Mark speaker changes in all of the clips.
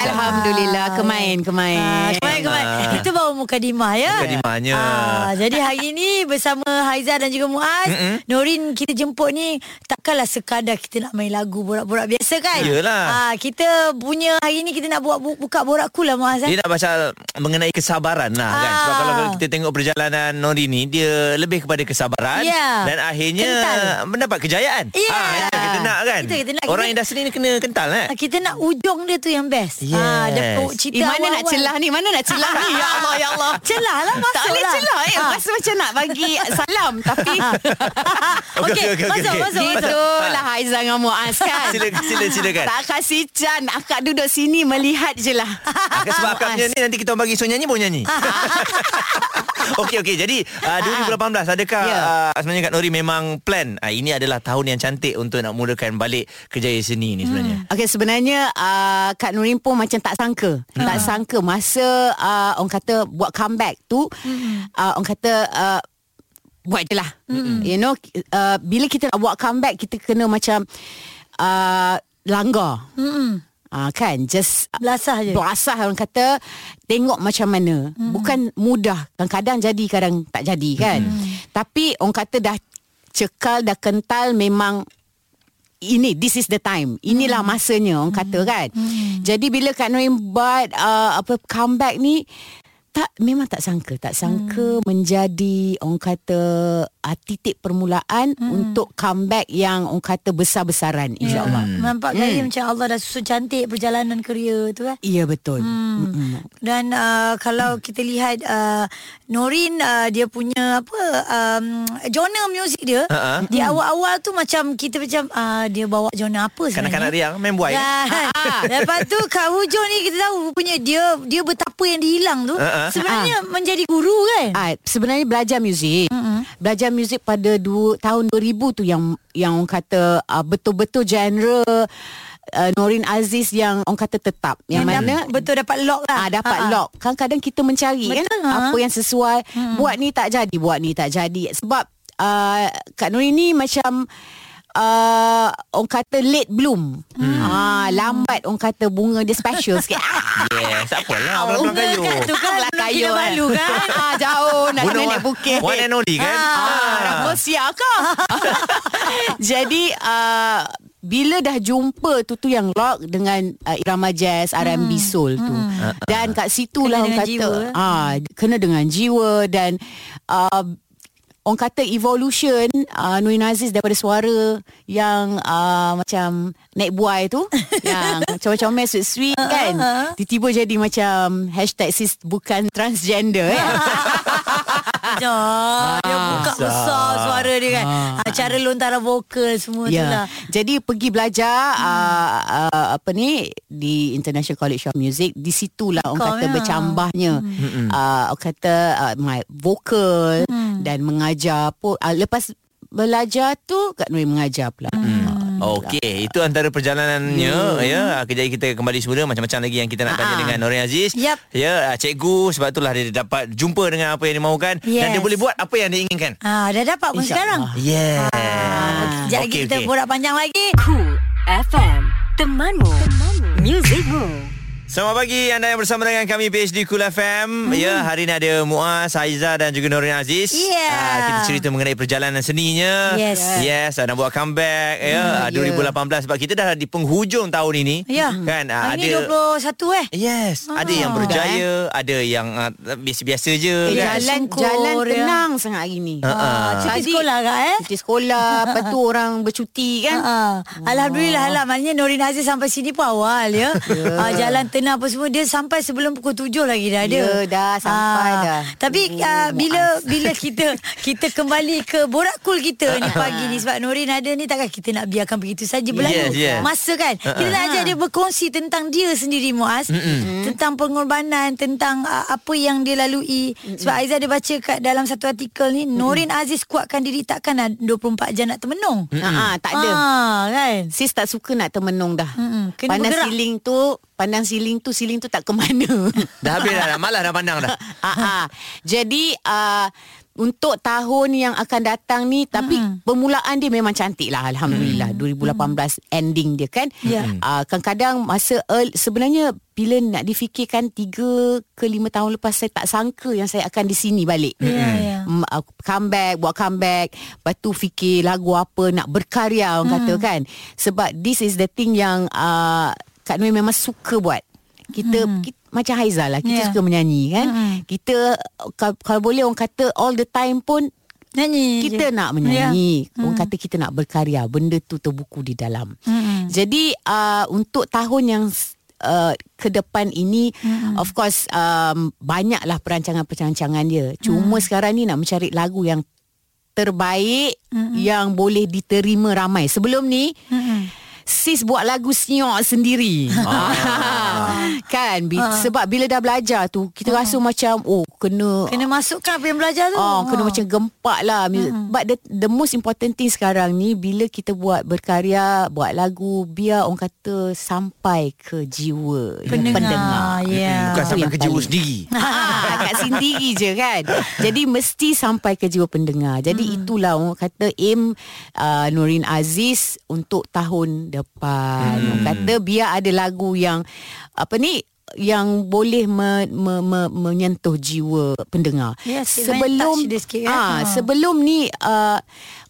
Speaker 1: Alhamdulillah kemain kemain.
Speaker 2: Ah, kemain kemain itu baru mukadimah ya.
Speaker 3: Mukadimahnya.
Speaker 2: Ah, jadi hari ni bersama Haiza dan juga Muaz, mm-hmm. Norin kita jemput ni takkanlah sekadar kita nak main lagu borak-borak biasa kan?
Speaker 3: Yelah.
Speaker 2: Ah, kita punya hari ni kita nak buat bu- buka borak kul lah Muaz. eh?
Speaker 3: Dia nak baca mengenai kesabaran lah kan Sebab
Speaker 2: Ah.
Speaker 3: kalau kita tengok perjalanan Nori ni Dia lebih kepada kesabaran
Speaker 2: Ya.
Speaker 3: Dan akhirnya
Speaker 2: Kental.
Speaker 3: mendapat kejayaan
Speaker 2: Ya.
Speaker 3: Ah, yang Kita nak kan
Speaker 2: Itu kita nak.
Speaker 3: Orang
Speaker 2: Kita-
Speaker 3: industri ni kena kental eh?
Speaker 2: Ah, Kita nak ujung dia tu yang best.
Speaker 3: Yes.
Speaker 2: dapat
Speaker 1: Eh,
Speaker 2: cerita
Speaker 1: mana nak
Speaker 2: awal-awal. Ah,
Speaker 1: celah ni? Mana nak celah ni? Ya Allah, ya Allah.
Speaker 2: Celah lah masuk
Speaker 1: Tak boleh
Speaker 2: lah.
Speaker 1: celah. Eh,
Speaker 2: Ah.
Speaker 1: rasa macam nak bagi salam. Tapi
Speaker 3: Okey, okey, okey, okey.
Speaker 2: Okey, masuk,
Speaker 3: Ah.
Speaker 2: masuk, masuk.
Speaker 1: itulah Haizan dengan Muaz kan.
Speaker 3: Sila- sila- silakan.
Speaker 1: Tak kasih can. Akak duduk sini melihat je lah.
Speaker 3: Ah, sebab
Speaker 1: Muaz.
Speaker 3: akapnya ni nanti kita orang bagi so nyanyi boleh nyanyi. Okey okey jadi
Speaker 2: Ah.
Speaker 3: uh, 2018 adakah
Speaker 1: Ya.
Speaker 3: yeah. uh, sebenarnya Kak Nori memang plan uh, ini adalah tahun yang cantik untuk nak mulakan balik kejayaan seni ni
Speaker 2: Hmm.
Speaker 3: sebenarnya.
Speaker 1: Okey sebenarnya uh, Kak Nurin pun macam tak sangka. Hmm. Tak sangka masa uh, orang kata buat comeback tu hmm. uh, orang kata uh, buat je lah. Hmm. You know uh, bila kita nak buat comeback kita kena macam uh, langgar. Hmm. Uh, kan just
Speaker 2: Belasah je.
Speaker 1: Berasah orang kata Tengok macam mana hmm. Bukan mudah Kadang-kadang jadi Kadang tak jadi kan hmm. Tapi orang kata dah Cekal dah kental Memang ini this is the time inilah masanya orang kata kan jadi bila Kak Noim buat uh, apa comeback ni tak memang tak sangka tak sangka menjadi orang kata uh, titik permulaan untuk comeback yang orang kata besar-besaran insyaallah
Speaker 2: Hmm. Nampak gaya macam Allah dah susun cantik perjalanan kerja tu kan.
Speaker 1: iya Ya, betul
Speaker 2: Hmm. Dan
Speaker 3: Hmm.
Speaker 2: uh, kalau kita lihat uh, Norin uh, dia punya apa um, genre muzik dia
Speaker 3: Ha-ha. Hmm.
Speaker 2: di awal-awal tu macam kita macam uh, dia bawa genre apa sebenarnya. Ya.
Speaker 3: Kanak-kanak riang main buai. Yeah.
Speaker 2: Dan, lepas tu Kak Hujung ni kita tahu rupanya dia dia betapa yang dihilang tu
Speaker 3: Ha-ha. Ha.
Speaker 2: sebenarnya menjadi guru kan.
Speaker 1: Ah, sebenarnya belajar muzik. Mm-hmm. Belajar muzik pada dua, tahun 2000 tu yang yang orang kata uh, betul-betul genre uh, Norin Aziz yang orang kata tetap. Yang
Speaker 2: Dia dap-
Speaker 1: mana
Speaker 2: betul dapat lock lah.
Speaker 1: Ah dapat
Speaker 2: Ha-ha.
Speaker 1: lock. Kadang-kadang kita mencari
Speaker 2: Betul,
Speaker 1: kan
Speaker 2: ha.
Speaker 1: apa yang sesuai. Buat ni tak jadi, buat ni tak jadi. Sebab uh, Kak Norin ni macam Uh, orang kata late bloom hmm. ah, Lambat orang kata bunga dia special sikit ah,
Speaker 3: Yes, tak apalah belang-belang kayu.
Speaker 2: kat tu kan
Speaker 1: Belah
Speaker 2: belum gila
Speaker 1: eh.
Speaker 2: balu kan.
Speaker 1: ah, Jauh nak
Speaker 3: Bunuh
Speaker 1: naik
Speaker 3: wa-
Speaker 1: bukit
Speaker 3: One
Speaker 1: Kan?
Speaker 2: Ah,
Speaker 3: and only kan?
Speaker 1: Ah, Rafflesia kah? Jadi uh, bila dah jumpa tu tu yang rock dengan uh, irama jazz R&B soul tu dan kat situlah
Speaker 2: Hmm. Kena
Speaker 1: orang
Speaker 2: dengan
Speaker 1: kata
Speaker 2: jiwa.
Speaker 1: ah kena dengan jiwa dan uh, orang kata evolution uh, Nurin Aziz daripada suara yang uh, macam naik buai tu yang comel-comel sweet-sweet
Speaker 2: Ah,
Speaker 1: kan tiba-tiba jadi macam hashtag sis bukan transgender
Speaker 2: Ya.
Speaker 1: eh.
Speaker 2: Sekejap Ya, Dia buka besar suara dia kan
Speaker 3: Ha.
Speaker 2: ah. Cara lontaran vokal
Speaker 3: Ya.
Speaker 2: semua tu lah
Speaker 1: Jadi pergi belajar hmm. uh, uh, apa ni di International College of Music. Di situlah
Speaker 2: Kau
Speaker 1: orang kata
Speaker 2: ya.
Speaker 1: bercambahnya. Hmm. Uh, orang kata uh, my vokal hmm. dan mengajar pun uh, lepas belajar tu Kak Nuri mengajar pula. Hmm.
Speaker 3: Okey, itu antara perjalanannya
Speaker 2: Hmm.
Speaker 3: ya. Kejaya kita kembali semula macam-macam lagi yang kita nak tanya
Speaker 1: Ha-ha.
Speaker 3: dengan Norin Aziz.
Speaker 2: Ah. Yap.
Speaker 3: Ya, ah, cikgu sebab itulah dia dapat jumpa dengan apa yang dia mahukan dan
Speaker 2: Yes.
Speaker 3: dia boleh buat apa yang dia inginkan.
Speaker 2: ah, Dah dapat pun
Speaker 1: Insya
Speaker 2: sekarang
Speaker 1: Allah.
Speaker 3: Yeah.
Speaker 2: Ah, Sekejap lagi kita borak panjang lagi
Speaker 4: Cool FM Temanmu Musicmu
Speaker 3: Selamat pagi anda yang bersama dengan kami PhD Cool FM. Hmm. Ya, hari ini ada Muaz, Haiza dan juga Norin Aziz.
Speaker 2: Yeah.
Speaker 3: Ah, kita cerita mengenai perjalanan seninya.
Speaker 2: Yes.
Speaker 3: Yes, ah, nak buat comeback ya ah, 2018 sebab kita dah di penghujung tahun ini.
Speaker 2: Ya
Speaker 3: Kan ah,
Speaker 2: Hari ni 21 eh
Speaker 3: Yes, ah. ada yang berjaya, ada yang uh, biasa-biasa je kan.
Speaker 1: Eh,
Speaker 2: Yes.
Speaker 1: jalan
Speaker 2: Sungguh,
Speaker 1: jalan
Speaker 2: ya.
Speaker 1: tenang sangat hari ni.
Speaker 3: Ha, ha.
Speaker 2: ah, Cuti
Speaker 1: Tadi-
Speaker 2: sekolah kak eh
Speaker 1: Cuti sekolah, lepas tu orang bercuti kan.
Speaker 2: Ha, Alhamdulillah lah Maknanya Norin Aziz sampai sini pun awal ya yeah. Jalan tenang apa semua Dia sampai sebelum pukul tujuh lagi dah ada
Speaker 1: Ya, dah, sampai dah.
Speaker 2: Tapi
Speaker 1: Oh,
Speaker 2: ah, bila
Speaker 1: Muaz.
Speaker 2: bila kita Kita kembali ke borak cool kita ni pagi ni Sebab Norin ada ni Takkan kita nak biarkan begitu saja Berlalu
Speaker 3: Yes, yes.
Speaker 2: masa kan Kita nak ajak dia berkongsi tentang dia sendiri Muaz Tentang pengorbanan Tentang ah, apa yang dia lalui Sebab Aizah dia baca kat dalam satu artikel ni Norin Aziz kuatkan diri Takkan ah, 24 jam nak termenung
Speaker 1: Ha ah, tak ada.
Speaker 2: Ah, kan.
Speaker 1: Sis tak suka nak termenung dah.
Speaker 2: Mm-mm, kena
Speaker 1: Pandang
Speaker 2: bergerak.
Speaker 1: siling tu, pandang siling tu, siling tu tak ke mana.
Speaker 3: Dah habis dah, dah malas dah pandang dah.
Speaker 1: Ah, ah. Jadi uh, untuk tahun yang akan datang ni tapi mm-hmm. permulaan dia memang cantik lah alhamdulillah mm-hmm. 2018 ending dia kan.
Speaker 2: Mm. Ya.
Speaker 1: Ah, kadang-kadang masa early, sebenarnya bila nak difikirkan 3 ke 5 tahun lepas saya tak sangka yang saya akan di sini balik.
Speaker 2: Ya, ya.
Speaker 1: Mm, uh, comeback buat comeback lepas tu fikir lagu apa nak
Speaker 2: Mm.
Speaker 1: berkarya orang kata kan sebab this is the thing yang uh, Kak Nui memang suka buat kita,
Speaker 2: Mm.
Speaker 1: kita macam Haiza lah kita
Speaker 2: Yeah.
Speaker 1: suka menyanyi kan
Speaker 2: Mm.
Speaker 1: kita kalau, kalau boleh orang kata all the time pun
Speaker 2: Nyanyi
Speaker 1: kita
Speaker 2: je.
Speaker 1: nak menyanyi yeah. orang kata kita nak berkarya benda tu terbuku di dalam
Speaker 2: Mm-mm.
Speaker 1: jadi uh, untuk tahun yang uh, ke depan ini mm. of course um, banyaklah perancangan-perancangan dia cuma sekarang ni nak mencari lagu yang terbaik mm yang boleh diterima ramai sebelum ni
Speaker 2: Mm-mm.
Speaker 1: sis buat lagu senyok sendiri. Ah. kan bi- sebab bila dah belajar tu kita rasa macam oh kena
Speaker 2: Kena masukkan apa yang belajar tu.
Speaker 1: Oh, kena
Speaker 2: Ha.
Speaker 1: macam gempak lah mm-hmm. But the, the most important thing sekarang ni Bila kita buat berkarya Buat lagu Biar orang kata Sampai ke jiwa yang
Speaker 2: pendengar.
Speaker 1: pendengar.
Speaker 2: Ya.
Speaker 3: Bukan
Speaker 1: Itu
Speaker 3: sampai
Speaker 1: yang
Speaker 3: ke jiwa
Speaker 1: paling-
Speaker 3: sendiri.
Speaker 1: Ah, kat sendiri je kan. Jadi mesti sampai ke jiwa pendengar. Jadi hmm. itulah orang kata aim uh, Nurin Aziz untuk tahun depan. Hmm. Orang kata biar ada lagu yang apa ni yang boleh me, me, me, menyentuh jiwa pendengar.
Speaker 2: Yes, it might touch
Speaker 1: sebelum
Speaker 2: dia Ya, sikit, kan?
Speaker 1: ah,
Speaker 2: Ha.
Speaker 1: sebelum ni uh,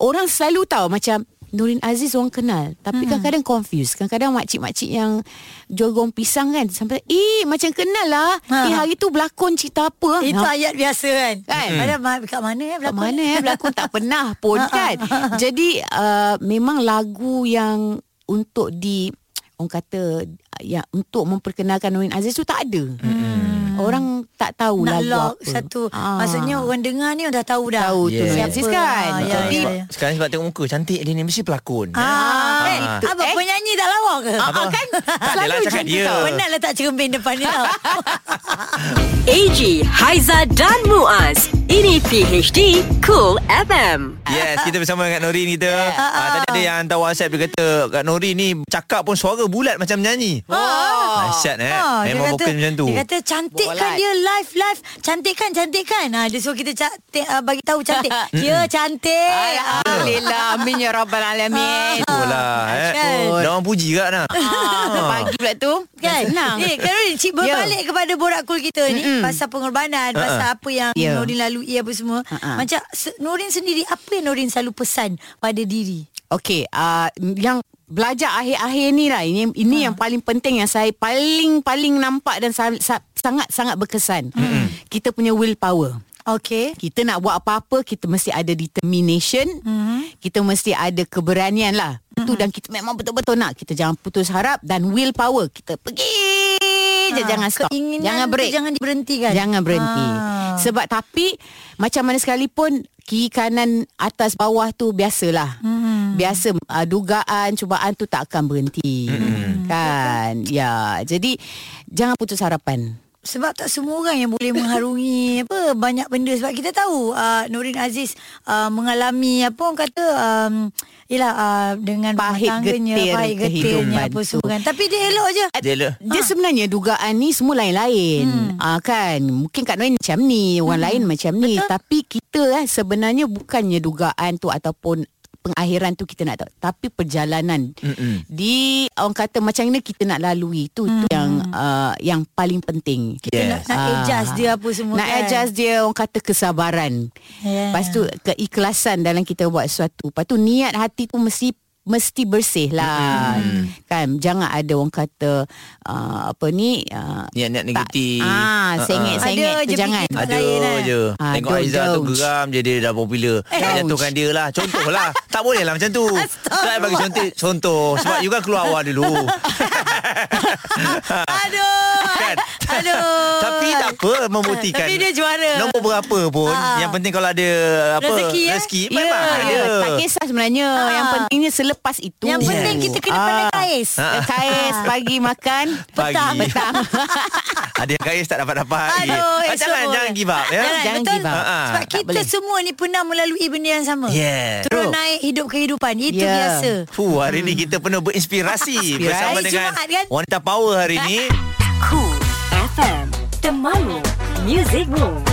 Speaker 1: orang selalu tahu macam Nurin Aziz orang kenal Tapi hmm. kadang-kadang confused Kadang-kadang makcik-makcik yang Jual goreng pisang kan Sampai Eh macam kenal lah
Speaker 2: Ha.
Speaker 1: ha. Eh hari tu berlakon cerita apa
Speaker 2: Itu
Speaker 1: Ha,
Speaker 2: ayat biasa kan.
Speaker 1: Kan?
Speaker 2: Ada ma- kat mana eh
Speaker 1: Kat
Speaker 2: berlakon? Ha,
Speaker 1: mana eh berlakon tak pernah pun kan Jadi uh, memang lagu yang Untuk di Orang kata ya, Untuk memperkenalkan Nurin Aziz tu tak ada hmm. Orang tak tahu
Speaker 2: Nak lock
Speaker 1: lagu apa
Speaker 2: satu.
Speaker 1: Ah.
Speaker 2: Maksudnya orang dengar ni dah tahu dah.
Speaker 1: Tahu tu
Speaker 3: Yes.
Speaker 1: Nurin Aziz kan
Speaker 2: Ah, ya,
Speaker 1: Jadi
Speaker 2: ya,
Speaker 3: Sebab-
Speaker 2: ya.
Speaker 3: Sekarang sebab tengok muka cantik dia ni mesti pelakon.
Speaker 2: Ah, eh,
Speaker 3: Ah.
Speaker 2: Abang
Speaker 1: Eh.
Speaker 2: penyanyi tak lawa ke?
Speaker 1: Ah, ah, kan
Speaker 3: Tak adalah
Speaker 1: Selalu
Speaker 3: cakap
Speaker 1: macam
Speaker 3: dia.
Speaker 1: tu tau
Speaker 2: Penat letak cermin depan ni tau.
Speaker 4: AG, Haiza dan Muaz. Ini PHD Cool FM.
Speaker 3: Yes, kita bersama dengan Kak Norin kita. Ah, tadi ada yang hantar WhatsApp dia kata Kak Norin ni cakap pun suara bulat macam nyanyi.
Speaker 2: Oh.
Speaker 1: Ah.
Speaker 3: Dahsyat eh.
Speaker 2: Ah, dia
Speaker 3: Memang
Speaker 2: kata-
Speaker 3: vokal macam tu.
Speaker 2: Dia kata cantik kan
Speaker 1: Bolat.
Speaker 2: dia live live. Cantik kan cantik kan. Ah dia suruh kita ca- te- ah, bagi tahu cantik. ya cantik.
Speaker 1: Alhamdulillah Amin ya Rabbal Alamin
Speaker 2: ah,
Speaker 3: Betul lah. eh.
Speaker 2: Kan?
Speaker 3: Dah orang puji kat nak.
Speaker 1: Ah, pagi pula tu
Speaker 2: Kan?
Speaker 1: Dah senang. Ya.
Speaker 2: Eh, Karolin, cik berbalik yeah. kepada borak kul kita ni mm-hmm. pasal pengorbanan, uh-uh. pasal apa yang yeah.
Speaker 1: Ya.
Speaker 2: Norin lalui apa semua.
Speaker 1: Ha-ha.
Speaker 2: Macam se- Norin sendiri apa yang Norin selalu pesan pada diri?
Speaker 1: Okey, uh, yang belajar akhir-akhir ni lah ini
Speaker 2: Ah.
Speaker 1: ini yang paling penting yang saya paling paling nampak dan sangat sangat berkesan. Hmm. Kita punya willpower.
Speaker 2: Okey.
Speaker 1: Kita nak buat apa-apa kita mesti ada determination. Mm-hmm. Kita mesti ada keberanian lah. Mm-hmm. Tu dan kita memang betul-betul nak. Kita jangan putus harap dan willpower. Kita pergi
Speaker 2: Ha,
Speaker 1: je jangan stop.
Speaker 2: keinginan
Speaker 1: Jangan
Speaker 2: tu
Speaker 1: break.
Speaker 2: Jangan diberhentikan.
Speaker 1: Jangan berhenti.
Speaker 2: Ah.
Speaker 1: Sebab tapi macam mana sekalipun kiri kanan atas bawah tu biasalah. Hmm. Biasa uh, dugaan cubaan tu tak akan berhenti. Hmm. Kan? Ya. Jadi jangan putus harapan.
Speaker 2: Sebab tak semua orang yang boleh mengharungi apa banyak benda sebab kita tahu uh, Nurin Aziz uh, mengalami apa orang kata um, yalah uh, dengan rumah
Speaker 1: Pahit
Speaker 2: tangganya
Speaker 1: getir
Speaker 2: pahit getirnya
Speaker 1: kehidupan
Speaker 2: apa
Speaker 1: tu.
Speaker 2: semua kan. Tapi dia elok je.
Speaker 3: Dia le.
Speaker 1: Dia sebenarnya dugaan ni semua lain-lain. Ah. Hmm. Ah kan, mungkin Kak Noin macam ni, orang lain macam ni, tapi kita eh sebenarnya bukannya dugaan tu ataupun pengakhiran tu kita nak tahu, tapi perjalanan
Speaker 3: Mm-mm.
Speaker 1: di orang kata macam mana kita nak lalui tu,
Speaker 2: Hmm.
Speaker 1: tu yang uh, yang paling penting.
Speaker 2: Dia
Speaker 3: Yes.
Speaker 2: Nak, nak
Speaker 1: Ah.
Speaker 2: adjust dia apa semua
Speaker 1: Nak
Speaker 2: kan.
Speaker 1: adjust dia orang kata kesabaran.
Speaker 2: Yeah.
Speaker 1: Lepas tu keikhlasan dalam kita buat sesuatu. Lepas tu niat hati tu mesti mesti bersih lah hmm. kan jangan ada orang kata uh, apa ni uh,
Speaker 3: Niat-niat
Speaker 1: tak-
Speaker 3: negatif.
Speaker 1: ah
Speaker 3: Ha-ha.
Speaker 1: sengit sengit
Speaker 2: Eh, uh-uh. Ada
Speaker 1: tu
Speaker 2: je
Speaker 1: jangan
Speaker 2: fikir
Speaker 3: Ada
Speaker 2: lain, eh.
Speaker 3: je
Speaker 1: Ah,
Speaker 3: Tengok
Speaker 1: don't,
Speaker 3: Aizah tu
Speaker 1: don't.
Speaker 3: geram je Dia dah popular Nak
Speaker 1: don't.
Speaker 3: Jatuhkan dia lah Contoh lah Tak boleh lah macam tu Saya bagi contoh Contoh Sebab you kan keluar awal dulu
Speaker 2: Aduh.
Speaker 3: Kan?
Speaker 2: Aduh.
Speaker 3: Tapi tak apa Membuktikan
Speaker 2: Tapi dia juara.
Speaker 3: Nombor berapa pun
Speaker 2: Ah.
Speaker 3: Yang penting kalau ada apa
Speaker 2: Rezeki, eh?
Speaker 3: Rezeki
Speaker 1: Ya,
Speaker 3: Memang
Speaker 1: ya,
Speaker 3: ada
Speaker 1: tak kisah sebenarnya.
Speaker 2: Ah.
Speaker 1: Yang pentingnya selepas itu.
Speaker 2: Yang penting kita kena pandai kais.
Speaker 1: Ah. Kais pagi makan.
Speaker 3: Pagi.
Speaker 1: Petang. Petang.
Speaker 3: Ada yang kaya tak dapat-dapat lagi.
Speaker 2: Aduh,
Speaker 3: Ah,
Speaker 2: esok
Speaker 3: Jangan
Speaker 2: pun.
Speaker 3: Jangan give up ya.
Speaker 2: Jangan,
Speaker 1: Jangan
Speaker 2: betul.
Speaker 1: give up.
Speaker 3: Ah, ah.
Speaker 2: Sebab
Speaker 1: Tak
Speaker 2: kita
Speaker 1: boleh.
Speaker 2: semua ni pernah melalui benda yang sama.
Speaker 3: Yeah.
Speaker 2: Turun
Speaker 3: True.
Speaker 2: naik hidup kehidupan. Itu
Speaker 1: Yeah.
Speaker 2: biasa.
Speaker 3: Fuh, hari ni kita penuh berinspirasi bersama
Speaker 2: Hari
Speaker 3: dengan
Speaker 2: Jumaat, Hmm. kan?
Speaker 3: wanita power hari ni.
Speaker 4: Cool FM Temanmu Music Rules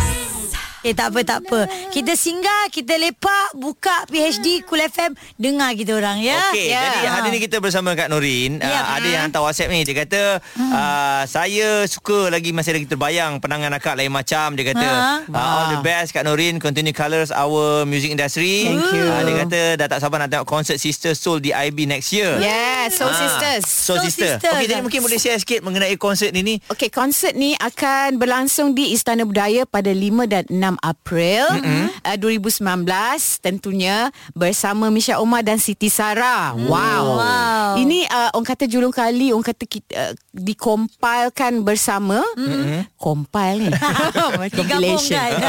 Speaker 2: Eh tak apa tak apa. Kita singgah, kita lepak, buka PhD Cool FM, dengar kita orang ya.
Speaker 3: Okey, yeah. jadi hari ni kita bersama Kak Norin.
Speaker 2: Ya,
Speaker 3: Yeah, uh, ada
Speaker 2: betul.
Speaker 3: yang hantar WhatsApp ni. Dia kata, hmm. uh, saya suka lagi masih lagi terbayang penangan akak lain macam. Dia kata,
Speaker 2: Ha.
Speaker 3: uh, all the
Speaker 1: Wah.
Speaker 3: best Kak Norin. Continue colours our music industry.
Speaker 1: Thank you.
Speaker 3: Uh, dia kata, dah tak sabar nak tengok konsert Sister Soul di IB next year.
Speaker 1: yeah, Soul
Speaker 3: Ah,
Speaker 1: Sisters.
Speaker 3: Soul,
Speaker 2: Soul
Speaker 3: Sister.
Speaker 2: Sister.
Speaker 3: Okey, jadi mungkin boleh share sikit mengenai konsert ni ni.
Speaker 1: Okey, konsert ni akan berlangsung di Istana Budaya pada 5 dan 6 April mm-hmm. uh, 2019 tentunya bersama Misha Omar dan Siti Sarah. Wow.
Speaker 2: Wow.
Speaker 1: Ini uh, orang kata julung kali, orang kata kita, uh, dikompilkan bersama. Mm-hmm. Compile ni. Compilation.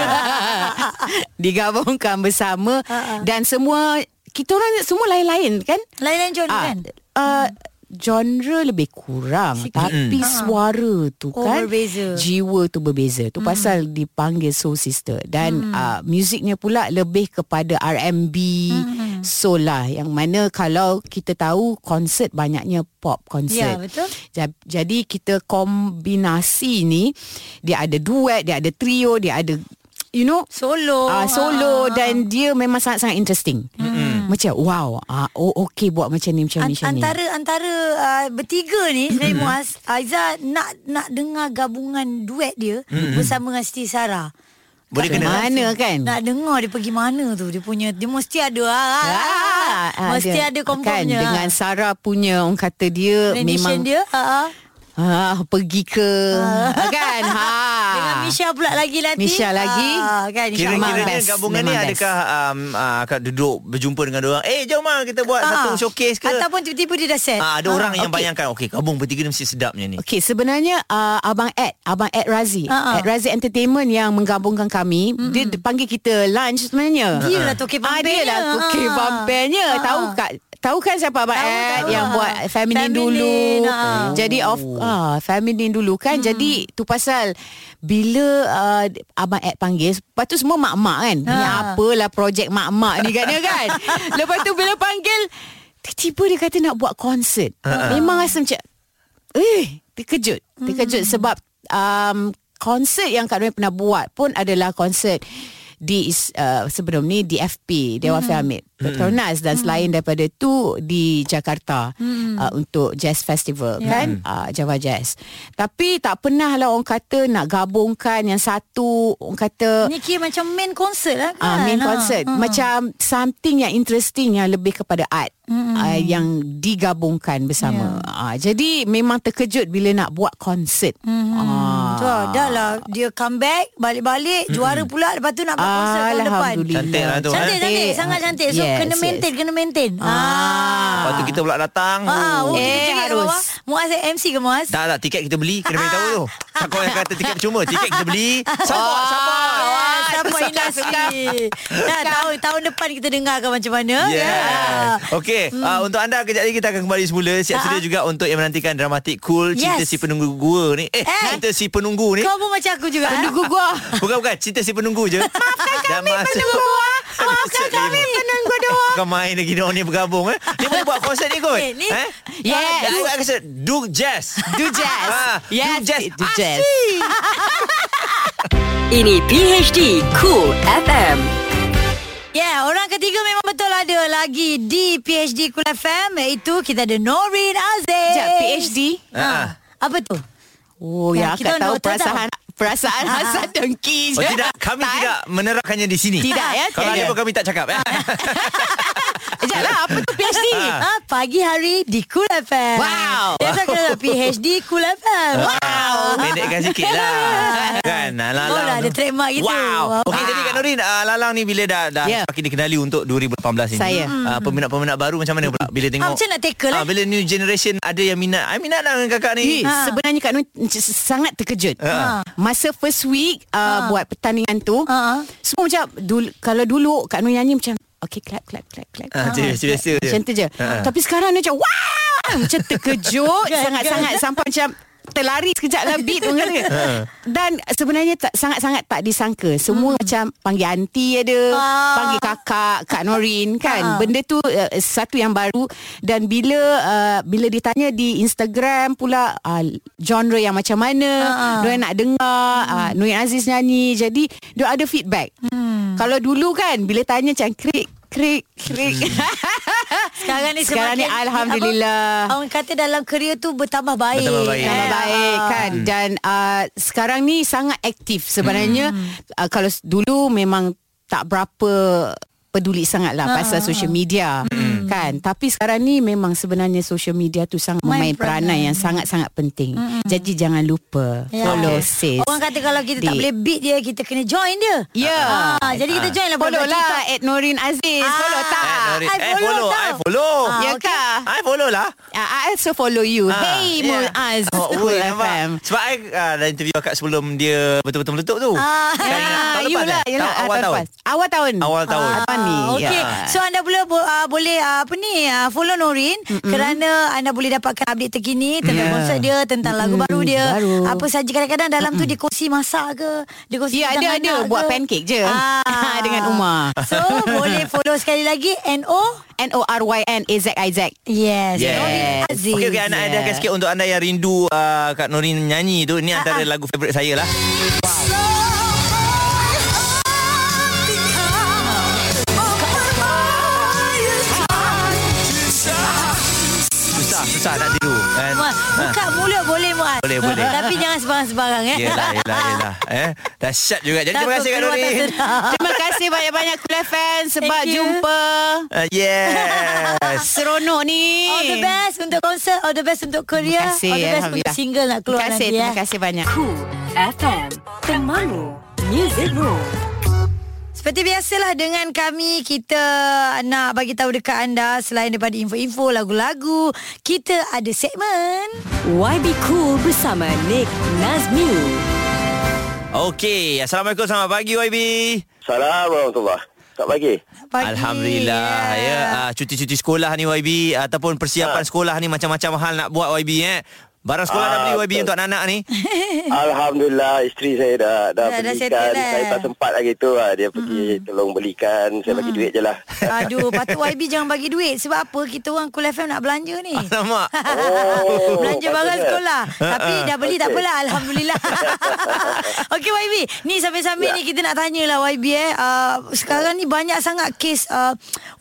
Speaker 1: Digabungkan bersama
Speaker 2: Ha, ha.
Speaker 1: dan semua kita orang semua lain-lain kan?
Speaker 2: Lain-lain genre kan?
Speaker 1: Uh, genre lebih kurang
Speaker 2: Sikit.
Speaker 1: Sikit. tapi
Speaker 2: Mm.
Speaker 1: suara tu
Speaker 2: Oh,
Speaker 1: kan
Speaker 2: berbeza.
Speaker 1: jiwa tu berbeza tu pasal dipanggil soul sister
Speaker 2: Mm.
Speaker 1: dan uh, muziknya pula lebih kepada R&B
Speaker 2: Mm-hmm.
Speaker 1: soul lah yang mana kalau kita tahu konsert banyaknya pop
Speaker 2: Ya,
Speaker 1: konsert
Speaker 2: betul.
Speaker 1: Ja- Jadi kita kombinasi ni dia ada duet, dia ada trio, dia ada you know
Speaker 2: Solo.
Speaker 1: Ah,
Speaker 2: Ah.
Speaker 1: solo dan dia memang sangat-sangat interesting. Mm-hmm. Macam wow, ah oh okey buat macam ni macam ni
Speaker 2: An-
Speaker 1: macam ni.
Speaker 2: antara antara uh, bertiga ni sebenarnya Muaz Aiza nak nak dengar gabungan duet dia
Speaker 1: Mm-hmm.
Speaker 2: bersama dengan Siti Sarah.
Speaker 3: Boleh
Speaker 1: Macam
Speaker 3: kena.
Speaker 1: mana kan?
Speaker 2: Nak dengar dia pergi mana tu dia punya dia mesti ada ah, ah, ah,
Speaker 1: Ah, ah,
Speaker 2: mesti
Speaker 1: dia-
Speaker 2: ada
Speaker 1: kan,
Speaker 2: komponnya.
Speaker 1: dengan Sarah punya orang kata dia
Speaker 2: memang
Speaker 1: memang
Speaker 2: dia ah, ah.
Speaker 1: ah pergi ke kan ha
Speaker 2: dengan Misha pula lagi nanti.
Speaker 1: Misha lagi.
Speaker 2: Ah, kan
Speaker 1: Memang
Speaker 3: Kira-kira
Speaker 2: insyaAllah.
Speaker 3: ni
Speaker 1: best,
Speaker 3: gabungan ni
Speaker 1: memang best.
Speaker 3: adakah um, uh, akak duduk berjumpa dengan orang? Eh jom lah kita buat
Speaker 2: Ah,
Speaker 3: satu showcase ke?
Speaker 2: Ataupun tiba-tiba dia dah set.
Speaker 3: Ah, ada orang yang
Speaker 1: okey.
Speaker 3: bayangkan Okey gabung bertiga ni mesti sedapnya ni
Speaker 1: Okey, sebenarnya uh, abang Ed, abang Ed Razi,
Speaker 2: Ha, ha.
Speaker 1: Ed Razi Entertainment yang menggabungkan kami, mm-hmm. dia d- panggil kita lunch sebenarnya.
Speaker 2: Dia lah tokeh
Speaker 1: Ah, dia
Speaker 2: pampirnya.
Speaker 1: lah tokeh
Speaker 2: Ha.
Speaker 1: pampirnya.
Speaker 2: Ha,
Speaker 1: Tahu
Speaker 2: ha.
Speaker 1: kat Tahu kan siapa Abang
Speaker 2: Tahu,
Speaker 1: Ed
Speaker 2: tahu.
Speaker 1: yang buat
Speaker 2: Feminine,
Speaker 1: Feminine, dulu.
Speaker 2: ha.
Speaker 1: Jadi of ah Feminine dulu kan. Jadi tu pasal bila uh, Abang Ed panggil, lepas tu semua mak-mak kan.
Speaker 2: Ha.
Speaker 1: Ni apalah projek mak-mak ni katnya kan. lepas tu bila panggil Tiba-tiba dia kata nak buat konsert.
Speaker 2: Ha,
Speaker 1: Memang rasa macam Eh, terkejut. Terkejut hmm. sebab um, konsert yang Kak Noe pernah buat pun adalah konsert di is- uh, sebelum ni di FP Dewan hmm. Hamid. Petronas dan selain daripada tu di Jakarta uh, untuk jazz festival yeah. kan uh, Java Jazz. Tapi tak pernah lah orang kata nak gabungkan yang satu orang kata
Speaker 2: Ni kira macam main concert lah kan
Speaker 1: Ah, main
Speaker 2: Ah.
Speaker 1: concert
Speaker 2: Ah.
Speaker 1: macam something yang interesting yang lebih kepada art ah, yang digabungkan bersama.
Speaker 2: Ya.
Speaker 1: Ah, jadi memang terkejut bila nak buat Ah, konsert.
Speaker 2: Tu lah, dah lah Dia comeback Balik-balik Juara pula Lepas tu nak buat konsert tahun depan
Speaker 1: Alhamdulillah.
Speaker 3: Cantik lah tu, eh?
Speaker 2: Cantik cantik Sangat cantik So
Speaker 1: Yes,
Speaker 2: kena
Speaker 1: yes.
Speaker 2: maintain Kena maintain Ah.
Speaker 3: Lepas tu kita pula datang.
Speaker 2: Ah, oh,
Speaker 1: Eh,
Speaker 2: eh, harus.
Speaker 1: harus.
Speaker 2: Bawah. Muaz eh, MC ke Muaz?
Speaker 3: Tak tak tiket kita beli Kena beritahu tu Tak kau yang kata tiket percuma Tiket kita beli Sabar sabar
Speaker 2: Ah, Support industri Dah tahun, tahun depan kita dengarkan macam mana Ah.
Speaker 3: Yeah. Okey, hmm. uh, untuk anda kejap lagi kita akan kembali semula. Siap sedia juga untuk yang menantikan dramatik cool Cinta
Speaker 2: Yes.
Speaker 3: si penunggu gua ni. Eh,
Speaker 2: Eh.
Speaker 3: Cinta si penunggu ni.
Speaker 2: Kau pun macam aku juga eh. Penunggu gua
Speaker 3: Bukan bukan, Cinta si penunggu je. Maafkan kami penunggu gua. Maafkan kami penunggu doa. Kau main lagi dia orang ni bergabung eh. Dia boleh buat konsert ni kot.
Speaker 2: Eh, ni-
Speaker 3: Eh?
Speaker 1: Yes.
Speaker 3: Dah buat konsert Do Jazz.
Speaker 1: Do jazz.
Speaker 3: Ah, do
Speaker 1: yes,
Speaker 3: jazz. Ah,
Speaker 1: Do jazz.
Speaker 4: Ini PHD Cool FM.
Speaker 2: Yeah, Ya, orang ketiga memang betul ada lagi di PhD Kul FM Iaitu kita ada Norin Aziz
Speaker 1: Sekejap, PhD.
Speaker 2: ha. Apa tu?
Speaker 1: Oh,
Speaker 2: Ya,
Speaker 1: ya,
Speaker 2: kita
Speaker 1: akak tahu
Speaker 2: noted
Speaker 1: perasaan perasaan
Speaker 2: Ah,
Speaker 1: hasad dengki je.
Speaker 3: Oh tidak, kami
Speaker 1: Tak, eh?
Speaker 3: tidak menerapkannya di sini.
Speaker 1: Tidak, ya,
Speaker 3: Kalau
Speaker 1: tidak.
Speaker 3: ada pun kami tak cakap. Eh?
Speaker 1: Sekejap lah, apa tu PhD?
Speaker 2: Ah, pagi hari di Kul FM
Speaker 1: Wow.
Speaker 2: Biasa kita ada PhD Kul FM
Speaker 3: Ha.
Speaker 2: Wow
Speaker 3: Pendekkan sikit lah Kan ah, Lalang
Speaker 2: Ah, Oh, dah
Speaker 3: tu.
Speaker 2: ada trademark gitu.
Speaker 3: Wow Okey
Speaker 1: Wow.
Speaker 3: jadi Kak Norin ah, Lalang ni bila dah, dah
Speaker 1: Ya.
Speaker 3: Makin dikenali untuk 2018 ni
Speaker 1: Saya.
Speaker 3: Ah, Peminat-peminat baru macam mana pula Bila tengok
Speaker 2: Hmm. Ah, macam nak tackle, eh?
Speaker 3: Ah, Bila new generation ada yang minat I minat lah dengan kakak
Speaker 1: Eh,
Speaker 3: ni
Speaker 2: Ha.
Speaker 1: Sebenarnya Kak Nun c- sangat terkejut.
Speaker 3: Ha.
Speaker 1: Masa first week uh, buat pertandingan tu,
Speaker 2: Ha.
Speaker 1: semua macam dulu, kalau dulu Kak Nun nyanyi macam Okay clap clap clap clap.
Speaker 3: Ah,
Speaker 1: clap,
Speaker 3: macam biasa
Speaker 1: clap.
Speaker 3: je.
Speaker 1: Macam tu je.
Speaker 3: Ha.
Speaker 1: Tapi sekarang dia macam wow, macam terkejut
Speaker 2: Kan,
Speaker 1: sangat-sangat sampai macam terlari sekejap lah beat orang kata.
Speaker 3: Ha,
Speaker 1: Dan sebenarnya tak, sangat-sangat tak disangka. Semua macam panggil aunty ada,
Speaker 2: Hmm. Ah. Ha,
Speaker 1: panggil kakak, Kak Norin kan. Benda tu uh, satu yang baru dan bila uh, bila ditanya di Instagram pula uh, genre yang macam mana,
Speaker 2: Ha,
Speaker 1: uh nak dengar,
Speaker 2: Hmm.
Speaker 1: uh, Nurin Aziz nyanyi. Jadi dia ada feedback.
Speaker 2: Hmm.
Speaker 1: Kalau dulu kan bila tanya macam krik krik krik.
Speaker 2: Sekarang ni
Speaker 1: Sekarang ni
Speaker 2: semakin-
Speaker 1: alhamdulillah.
Speaker 2: apa, Orang kata dalam kerja tu bertambah baik. ah,
Speaker 3: Bertambah baik.
Speaker 1: Nama
Speaker 3: Eh,
Speaker 1: baik kan dan uh, sekarang ni sangat aktif sebenarnya uh, kalau s- dulu memang tak berapa peduli sangatlah pasal social media kan tapi sekarang ni memang sebenarnya social media tu sangat
Speaker 2: Main
Speaker 1: main peranan
Speaker 2: peranan.
Speaker 1: yang sangat-sangat penting jadi jangan lupa
Speaker 2: Ya.
Speaker 1: follow
Speaker 2: Okay.
Speaker 1: sis
Speaker 2: Orang kata kalau kita tak
Speaker 1: Di-
Speaker 2: boleh beat dia, kita kena join dia.
Speaker 1: Ya.
Speaker 2: Ah, jadi kita join lah
Speaker 1: follow
Speaker 2: budak-budak
Speaker 1: lah
Speaker 2: TikTok.
Speaker 1: at Norin Aziz
Speaker 2: Ah.
Speaker 1: follow tak
Speaker 3: Eh, Norin,
Speaker 2: I
Speaker 3: eh,
Speaker 2: follow
Speaker 3: follow
Speaker 2: tau.
Speaker 3: I follow
Speaker 1: ah, ya
Speaker 2: okay.
Speaker 1: kah
Speaker 3: I follow lah
Speaker 1: Ah, I also follow you
Speaker 3: Ah,
Speaker 1: hey
Speaker 3: yeah.
Speaker 1: Mul Az
Speaker 3: Oh, weh,
Speaker 1: Cool
Speaker 3: nampak?
Speaker 1: FM
Speaker 3: Sebab I ah, dah interview akak sebelum dia Betul-betul meletup tu
Speaker 2: Ah.
Speaker 3: Kan ingat
Speaker 1: Ah,
Speaker 3: tahun
Speaker 1: you
Speaker 3: lepas
Speaker 1: lah,
Speaker 3: eh?
Speaker 1: you lah.
Speaker 3: Tahun-
Speaker 1: Ah,
Speaker 3: Awal tahun
Speaker 1: lepas. Awal tahun.
Speaker 3: Awal tahun
Speaker 1: Ah, Tahun ni.
Speaker 2: Okay.
Speaker 1: ya.
Speaker 2: So anda boleh uh, boleh uh, apa ni uh, follow Norin mm-hmm. kerana anda boleh dapatkan update terkini tentang
Speaker 3: Ya.
Speaker 2: yeah. konsert dia, tentang lagu baru dia.
Speaker 1: baru.
Speaker 2: Apa saja kadang-kadang dalam mm-hmm. tu dia kongsi masak ke, dia kongsi tentang
Speaker 1: Ya, ada- ada.
Speaker 2: anak
Speaker 1: Buat
Speaker 2: ke. Ah.
Speaker 1: pancake je. Dengan Umar.
Speaker 2: So boleh follow sekali lagi NO
Speaker 1: N-O-R-Y-N-A-Z-I-Z.
Speaker 2: Yes.
Speaker 3: Yes.
Speaker 2: Norin Aziz.
Speaker 3: Okey okey anak ada sikit untuk anda yang rindu uh, Kak Norin nyanyi tu
Speaker 1: Ah,
Speaker 3: ni antara lagu favorite saya lah. Susah susah nak tiru kan.
Speaker 2: Muaz, buka mulut boleh Muaz
Speaker 3: Boleh, boleh.
Speaker 2: Tapi jangan sembarang-sembarang eh
Speaker 3: Yelah yelah yelah eh. Dahsyat juga. Jadi terima
Speaker 2: Takut
Speaker 3: kasih Kak
Speaker 2: keluar tak
Speaker 3: Norin.
Speaker 2: sedap.
Speaker 1: Terima kasih banyak-banyak Kul FM sebab
Speaker 2: Thank you.
Speaker 1: jumpa.
Speaker 3: Uh, yes.
Speaker 1: Seronok ni.
Speaker 2: All the best untuk konsert All the best untuk Korea
Speaker 1: Terima kasih,
Speaker 2: All the best untuk
Speaker 1: Alhamdulillah.
Speaker 2: single nak keluar
Speaker 1: Terima kasih,
Speaker 2: nanti
Speaker 1: terima
Speaker 2: eh.
Speaker 1: kasih banyak.
Speaker 4: Cool FM. Temanmu. Music Room.
Speaker 2: Seperti biasalah dengan kami Kita nak bagi tahu dekat anda Selain daripada info-info Lagu-lagu Kita ada segmen
Speaker 4: YB Cool bersama Nick Nazmi.
Speaker 3: Okey, Assalamualaikum selamat pagi YB.
Speaker 5: Salam warahmatullahi Tak pagi
Speaker 2: Pagi.
Speaker 3: Alhamdulillah Ah,
Speaker 2: Ah.
Speaker 3: ya. Uh, cuti-cuti sekolah ni YB ataupun persiapan sekolah ni macam-macam hal nak buat YB eh. Barang sekolah dah
Speaker 5: Ah,
Speaker 3: beli YB
Speaker 5: betul.
Speaker 3: untuk anak-anak ni?
Speaker 5: Alhamdulillah isteri saya dah Eh. dah
Speaker 2: Dah- dah
Speaker 5: belikan.
Speaker 2: settle lah.
Speaker 5: Saya tak sempat lagi tu lah. Dia pergi tolong belikan. Saya bagi duit je lah.
Speaker 2: Aduh, patut YB jangan bagi duit. Sebab apa? Kita orang Cool FM nak belanja ni.
Speaker 3: Alamak.
Speaker 5: Oh,
Speaker 2: Belanja barang
Speaker 5: patutnya.
Speaker 2: sekolah Tapi dah beli tak
Speaker 5: Okey.
Speaker 2: apalah Alhamdulillah Okey YB Ni sambil-sambil
Speaker 5: Ya.
Speaker 2: ni Kita nak tanyalah YB eh uh, Sekarang ni banyak sangat kes uh,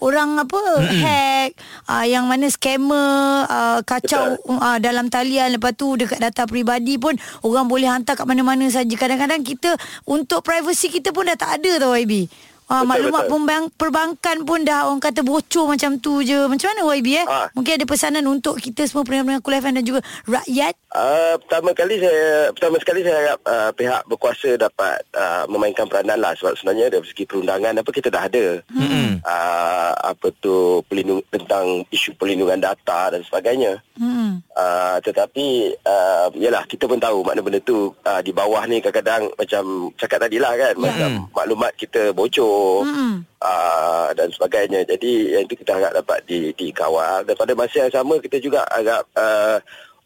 Speaker 2: Orang apa Hack uh, Yang mana scammer uh, Kacau uh, dalam talian Lepas tu dekat data peribadi pun Orang boleh hantar kat mana-mana saja Kadang-kadang kita Untuk privasi kita pun dah tak ada tau YB Ah, maklumat
Speaker 5: Betul, betul.
Speaker 2: pembang- perbankan pun dah orang kata bocor macam tu je. Macam mana YB eh?
Speaker 5: Ah.
Speaker 2: Mungkin ada pesanan untuk kita semua pendengar-pendengar Kul FM dan juga rakyat.
Speaker 5: Uh, pertama kali saya pertama sekali saya harap uh, pihak berkuasa dapat uh, memainkan peranan lah sebab sebenarnya dari segi perundangan apa kita dah ada hmm. uh, apa tu pelindung tentang isu perlindungan data dan sebagainya
Speaker 2: Hmm.
Speaker 5: Uh, tetapi uh, yalah kita pun tahu makna benda tu uh, di bawah ni kadang-kadang macam cakap tadi lah kan
Speaker 2: Ya.
Speaker 5: yeah. macam
Speaker 2: Hmm.
Speaker 5: maklumat kita bocor mm. uh, dan sebagainya jadi yang itu kita harap dapat di dikawal dan pada masa yang sama kita juga harap uh,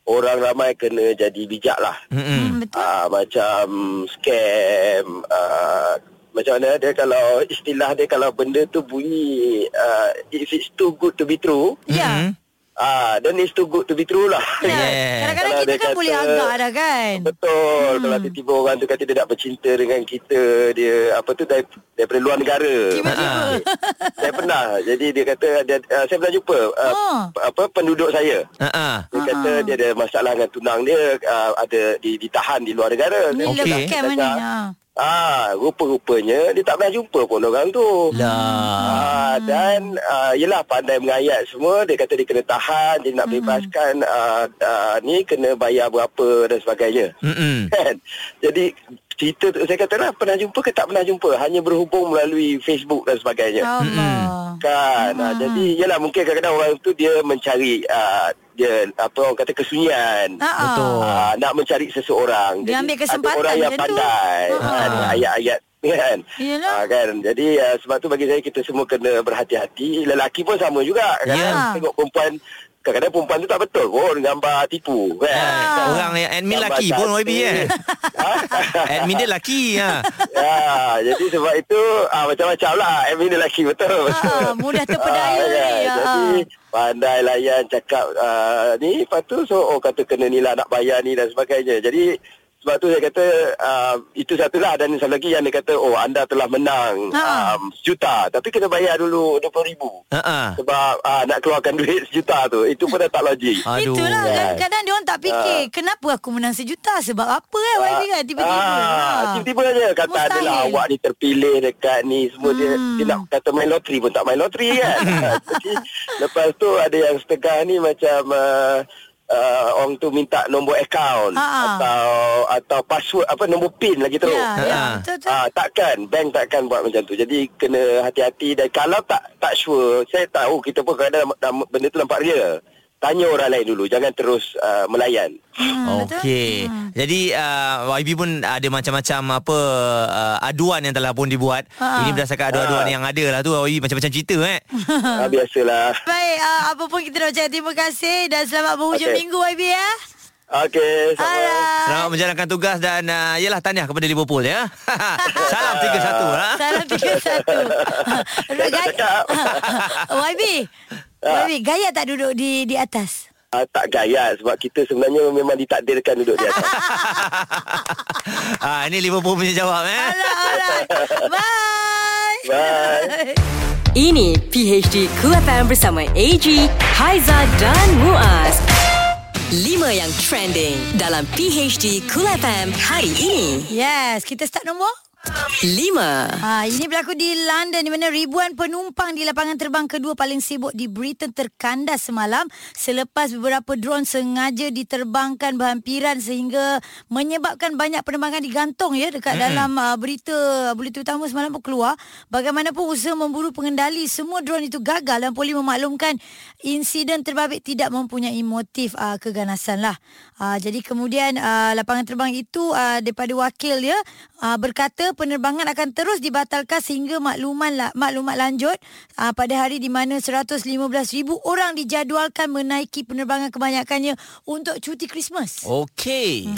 Speaker 5: orang ramai kena jadi bijak lah
Speaker 3: Mm-mm.
Speaker 2: Hmm, betul.
Speaker 5: uh, macam scam uh, macam mana dia kalau istilah dia kalau benda tu bunyi uh, if it's too good to be true
Speaker 3: Hmm.
Speaker 2: Ya.
Speaker 5: Ah, then it's too good to be true lah.
Speaker 2: Ya.
Speaker 3: Yeah.
Speaker 2: Kadang-kadang
Speaker 5: Kalau
Speaker 2: kita
Speaker 5: dia
Speaker 2: kan
Speaker 5: kata-
Speaker 2: boleh agak dah kan.
Speaker 5: Betul. Hmm. Kalau tiba-tiba orang tu kata dia tak bercinta dengan kita, dia apa tu dari, daripada luar negara. Ha.
Speaker 2: Tiba-tiba.
Speaker 5: saya pernah. Jadi dia kata dia, uh, saya pernah jumpa uh,
Speaker 2: Oh.
Speaker 5: p- apa penduduk saya.
Speaker 3: Ha-ha.
Speaker 5: Dia kata dia ada masalah dengan tunang dia uh, ada di, ditahan di luar negara.
Speaker 2: Ni
Speaker 5: Saya
Speaker 3: Okey.
Speaker 2: lekat camp mana?
Speaker 5: cakap,
Speaker 2: Ha.
Speaker 5: Ah, rupa-rupanya dia tak pernah jumpa pun orang tu.
Speaker 3: Lah.
Speaker 5: Ah, dan uh, yelah pandai mengayat semua dia kata dia kena tahan dia nak bebaskan uh, uh, ni kena bayar berapa dan sebagainya
Speaker 3: Mm-mm.
Speaker 5: kan jadi cerita tu saya kata lah pernah jumpa ke tak pernah jumpa hanya berhubung melalui Facebook dan sebagainya
Speaker 2: Oh, Allah.
Speaker 5: kan ah, jadi yelah mungkin kadang-kadang orang tu dia mencari uh, dia apa orang kata kesunyian
Speaker 2: Ha-ha.
Speaker 3: Betul.
Speaker 5: Ah, nak mencari seseorang.
Speaker 2: Dia ambil kesempatan
Speaker 5: ada orang
Speaker 2: macam
Speaker 5: yang
Speaker 2: tu.
Speaker 5: pandai.
Speaker 2: Ha.
Speaker 5: Ada ayat-ayat kan.
Speaker 2: Yelah.
Speaker 5: Ah, kan. Jadi ah, sebab tu bagi saya kita semua kena berhati-hati. Lelaki pun sama juga.
Speaker 2: Ya.
Speaker 5: Kadang-kadang kita tengok perempuan kadang-kadang perempuan tu tak betul pun gambar tipu
Speaker 2: Ya,
Speaker 5: kan.
Speaker 2: Ah.
Speaker 3: Ha, orang yang admin
Speaker 5: Gambar
Speaker 3: lelaki pun
Speaker 5: cantik.
Speaker 3: YB eh. Admin dia lelaki ha.
Speaker 5: ya, jadi sebab itu ah, macam-macam lah. Admin dia lelaki betul.
Speaker 2: Ha, mudah terpedaya
Speaker 5: Ah,
Speaker 2: ni, ha.
Speaker 5: Jadi pandai layan cakap ah, ni. Lepas tu so oh kata kena ni lah nak bayar ni dan sebagainya. Jadi sebab tu saya kata ah, itu satulah dan satu lagi yang dia kata oh anda telah menang
Speaker 2: Ha.
Speaker 5: um, sejuta tapi kena bayar dulu RM20,000.
Speaker 3: Ha-ha.
Speaker 5: Sebab ah, nak keluarkan duit sejuta tu. Itu pun dah tak logik.
Speaker 3: Aduh.
Speaker 2: Itulah kan.
Speaker 5: Ya.
Speaker 2: kadang-kadang dia orang tak fikir kenapa aku menang sejuta sebab apa eh YB kan tiba-tiba.
Speaker 5: Ah. Ah,
Speaker 2: Ha.
Speaker 5: tiba-tiba je kata
Speaker 2: Mustahil. Hmm.
Speaker 5: adalah awak ni terpilih dekat ni semua dia, dia nak kata main loteri pun tak main loteri kan. Jadi, lepas tu ada yang setengah ni macam uh, uh, orang tu minta nombor akaun
Speaker 2: Ha, ha.
Speaker 5: atau atau password apa nombor pin lagi teruk.
Speaker 2: Ya, ya,
Speaker 3: Ha.
Speaker 2: betul betul.
Speaker 5: Ah, takkan bank takkan buat macam tu. Jadi kena hati-hati dan kalau tak tak sure, saya tahu kita pun kadang kadang benda tu nampak real. Tanya orang lain dulu, jangan terus uh, melayan.
Speaker 2: Hmm, betul.
Speaker 3: Okey. Jadi uh, YB pun ada macam-macam apa uh, aduan yang telah pun dibuat.
Speaker 2: Ha.
Speaker 3: Ini berdasarkan aduan-aduan yang ada lah tu YB macam-macam cerita eh.
Speaker 5: Ah, biasalah.
Speaker 2: Baik, uh, apa pun kita nak ucapkan terima kasih dan selamat berhujung
Speaker 5: Okey.
Speaker 2: minggu YB ya.
Speaker 5: Okey, sama.
Speaker 2: Alright.
Speaker 3: Selamat menjalankan tugas dan uh, yelah tahniah kepada Liverpool ya. Salam 3-1 ha.
Speaker 2: Salam 31
Speaker 5: Saya tak cakap.
Speaker 2: YB YB Gaya tak duduk di di atas
Speaker 5: Ah, tak gaya sebab kita sebenarnya memang ditakdirkan duduk di atas.
Speaker 3: Ah ini Liverpool punya jawab eh.
Speaker 2: Alah alah Bye
Speaker 5: Bye.
Speaker 4: Ini PHD Cool FM bersama AG, Haiza dan Muaz. 5 yang trending dalam PHD Cool FM hari ini.
Speaker 2: Yes Kita start nombor
Speaker 4: 5.
Speaker 2: Ha, ini berlaku di London di mana ribuan penumpang di lapangan terbang kedua paling sibuk di Britain terkandas semalam selepas beberapa drone sengaja diterbangkan berhampiran sehingga menyebabkan banyak penerbangan digantung ya dekat mm-hmm. dalam uh, berita berita utama semalam pun keluar. Bagaimanapun usaha memburu pengendali semua drone itu gagal dan polis memaklumkan insiden terbabit tidak mempunyai motif uh, keganasan Ah, lah. Uh, jadi kemudian uh, lapangan terbang itu uh, daripada wakil dia uh, berkata kata penerbangan akan terus dibatalkan sehingga makluman la, maklumat lanjut uh, pada hari di mana 115,000 orang dijadualkan menaiki penerbangan kebanyakannya untuk cuti Krismas.
Speaker 3: Oh. Okey.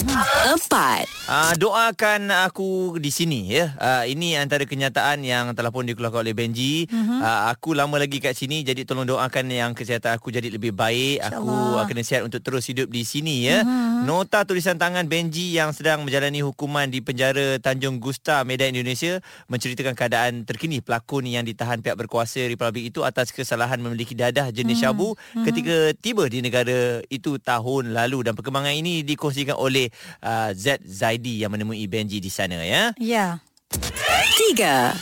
Speaker 4: Empat.
Speaker 3: Uh, doakan aku di sini ya. Uh, ini antara kenyataan yang telah pun dikeluarkan oleh Benji. Mm-hmm. Uh, aku lama lagi kat sini jadi tolong doakan yang kesihatan aku jadi lebih baik. Aku uh, kena sihat untuk terus hidup di sini ya. Mm-hmm. Nota tulisan tangan Benji yang sedang menjalani hukuman di penjara Tanjung Gusta Medan Indonesia menceritakan keadaan terkini pelakon yang ditahan pihak berkuasa Republik itu atas kesalahan memiliki dadah jenis mm-hmm. syabu ketika tiba di negara itu tahun lalu dan perkembangan ini dikongsikan oleh uh, Z Zaidi yang menemui Benji di sana ya.
Speaker 2: Ya.
Speaker 4: Tiga.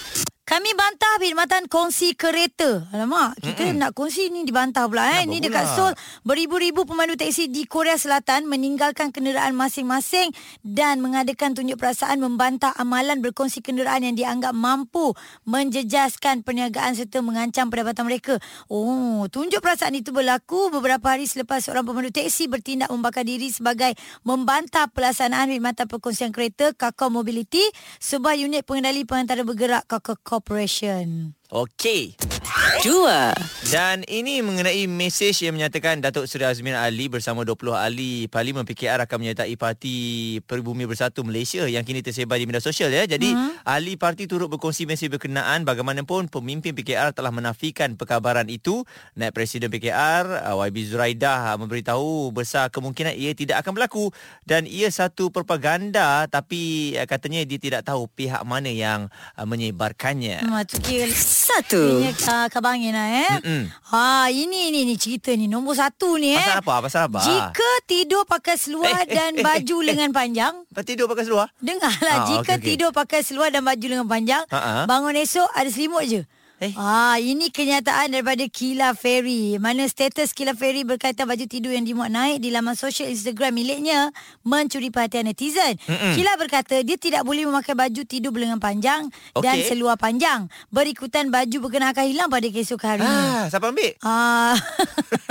Speaker 2: Kami bantah perkhidmatan kongsi kereta. Alamak, kita Mm-mm. nak kongsi ni dibantah pula eh.
Speaker 3: Kenapa
Speaker 2: Ni dekat
Speaker 3: pula?
Speaker 2: Seoul, beribu-ribu pemandu teksi di Korea Selatan meninggalkan kenderaan masing-masing dan mengadakan tunjuk perasaan membantah amalan berkongsi kenderaan yang dianggap mampu menjejaskan perniagaan serta mengancam pendapatan mereka. Oh, tunjuk perasaan itu berlaku beberapa hari selepas seorang pemandu teksi bertindak membakar diri sebagai membantah pelaksanaan perkhidmatan perkongsian kereta Kakao Mobility, sebuah unit pengendali pengantara bergerak Kakao Corporation.
Speaker 3: Okey.
Speaker 4: Dua.
Speaker 3: Dan ini mengenai mesej yang menyatakan Datuk Seri Azmin Ali bersama 20 ahli Parlimen PKR akan menyertai Parti Peribumi Bersatu Malaysia yang kini tersebar di media sosial ya. Jadi hmm. ahli parti turut berkongsi mesej berkenaan bagaimanapun pemimpin PKR telah menafikan perkabaran itu. Naib Presiden PKR ah, YB Zuraidah ah, memberitahu besar kemungkinan ia tidak akan berlaku dan ia satu propaganda tapi ah, katanya dia tidak tahu pihak mana yang ah, menyebarkannya.
Speaker 2: Hmm, tu kira
Speaker 4: Satu.
Speaker 2: Ini uh, Abang Angin lah eh.
Speaker 3: Mm-mm.
Speaker 2: Ha, ini ni ni cerita ni nombor satu ni eh.
Speaker 3: Pasal apa? Pasal apa?
Speaker 2: Jika tidur pakai
Speaker 3: Eh, eh,
Speaker 2: seluar dan
Speaker 3: eh,
Speaker 2: baju
Speaker 3: eh, eh.
Speaker 2: lengan panjang,
Speaker 3: Lepas tidur pakai seluar?
Speaker 2: dengarlah
Speaker 3: Ah, okey,
Speaker 2: jika
Speaker 3: okey.
Speaker 2: tidur pakai seluar dan baju lengan panjang,
Speaker 3: Ha, ha.
Speaker 2: bangun esok ada selimut je.
Speaker 3: Eh.
Speaker 2: Ah, ini kenyataan daripada Kila Ferry. Mana status Kila Ferry berkaitan baju tidur yang dimuat naik di laman sosial Instagram miliknya mencuri perhatian netizen. Mm-mm. Kila berkata dia tidak boleh memakai baju tidur berlengan panjang dan
Speaker 3: Okey.
Speaker 2: seluar panjang. Berikutan baju berkenaan akan hilang pada keesokan
Speaker 3: Ah,
Speaker 2: harinya.
Speaker 3: siapa ambil?
Speaker 2: Ah.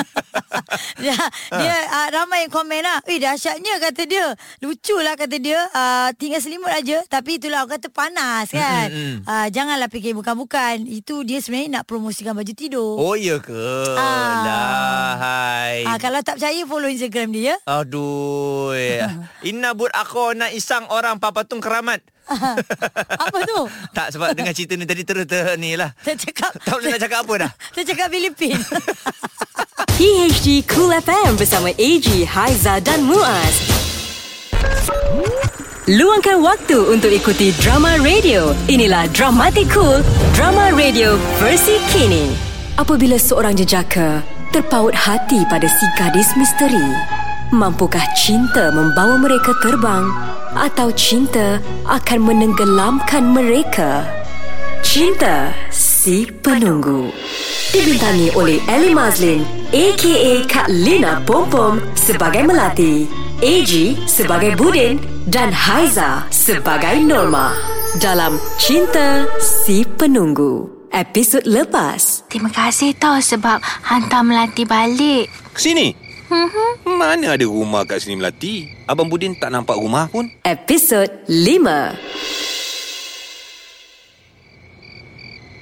Speaker 2: dia dia ah, ramai yang komen lah Eh dahsyatnya kata dia Lucu lah kata dia ah, Tinggal selimut aja Tapi itulah orang kata panas kan
Speaker 3: Mm,
Speaker 2: ah, Janganlah fikir bukan-bukan Itu dia sebenarnya nak promosikan baju tidur
Speaker 3: Oh ya ke?
Speaker 2: Ah.
Speaker 3: Lah, hai.
Speaker 2: ah, Kalau tak percaya follow Instagram dia ya.
Speaker 3: Aduh. Inna bud aku nak isang orang papatung keramat.
Speaker 2: Apa tu?
Speaker 3: Tak sebab dengan cerita ni tadi terus ter ni lah.
Speaker 2: Tercakap
Speaker 3: Tak boleh nak cakap apa dah.
Speaker 2: Tercakap Filipin
Speaker 4: PHD Cool FM bersama AG, Haiza dan Muaz. Luangkan waktu untuk ikuti drama radio. Inilah Dramatic Cool, drama radio versi kini. Apabila seorang jejaka terpaut hati pada si gadis misteri, mampukah cinta membawa mereka terbang atau cinta akan menenggelamkan mereka? Cinta Si Penunggu Dibintangi oleh Ellie Mazlin A.K.A. Kak Lina Pompom sebagai Melati AG sebagai Budin dan Haiza sebagai Norma dalam Cinta Si Penunggu episod lepas
Speaker 6: Terima kasih tau sebab hantar Melati balik.
Speaker 7: Sini. Mana ada rumah kat sini Melati? Abang Budin tak nampak rumah pun.
Speaker 4: episod 5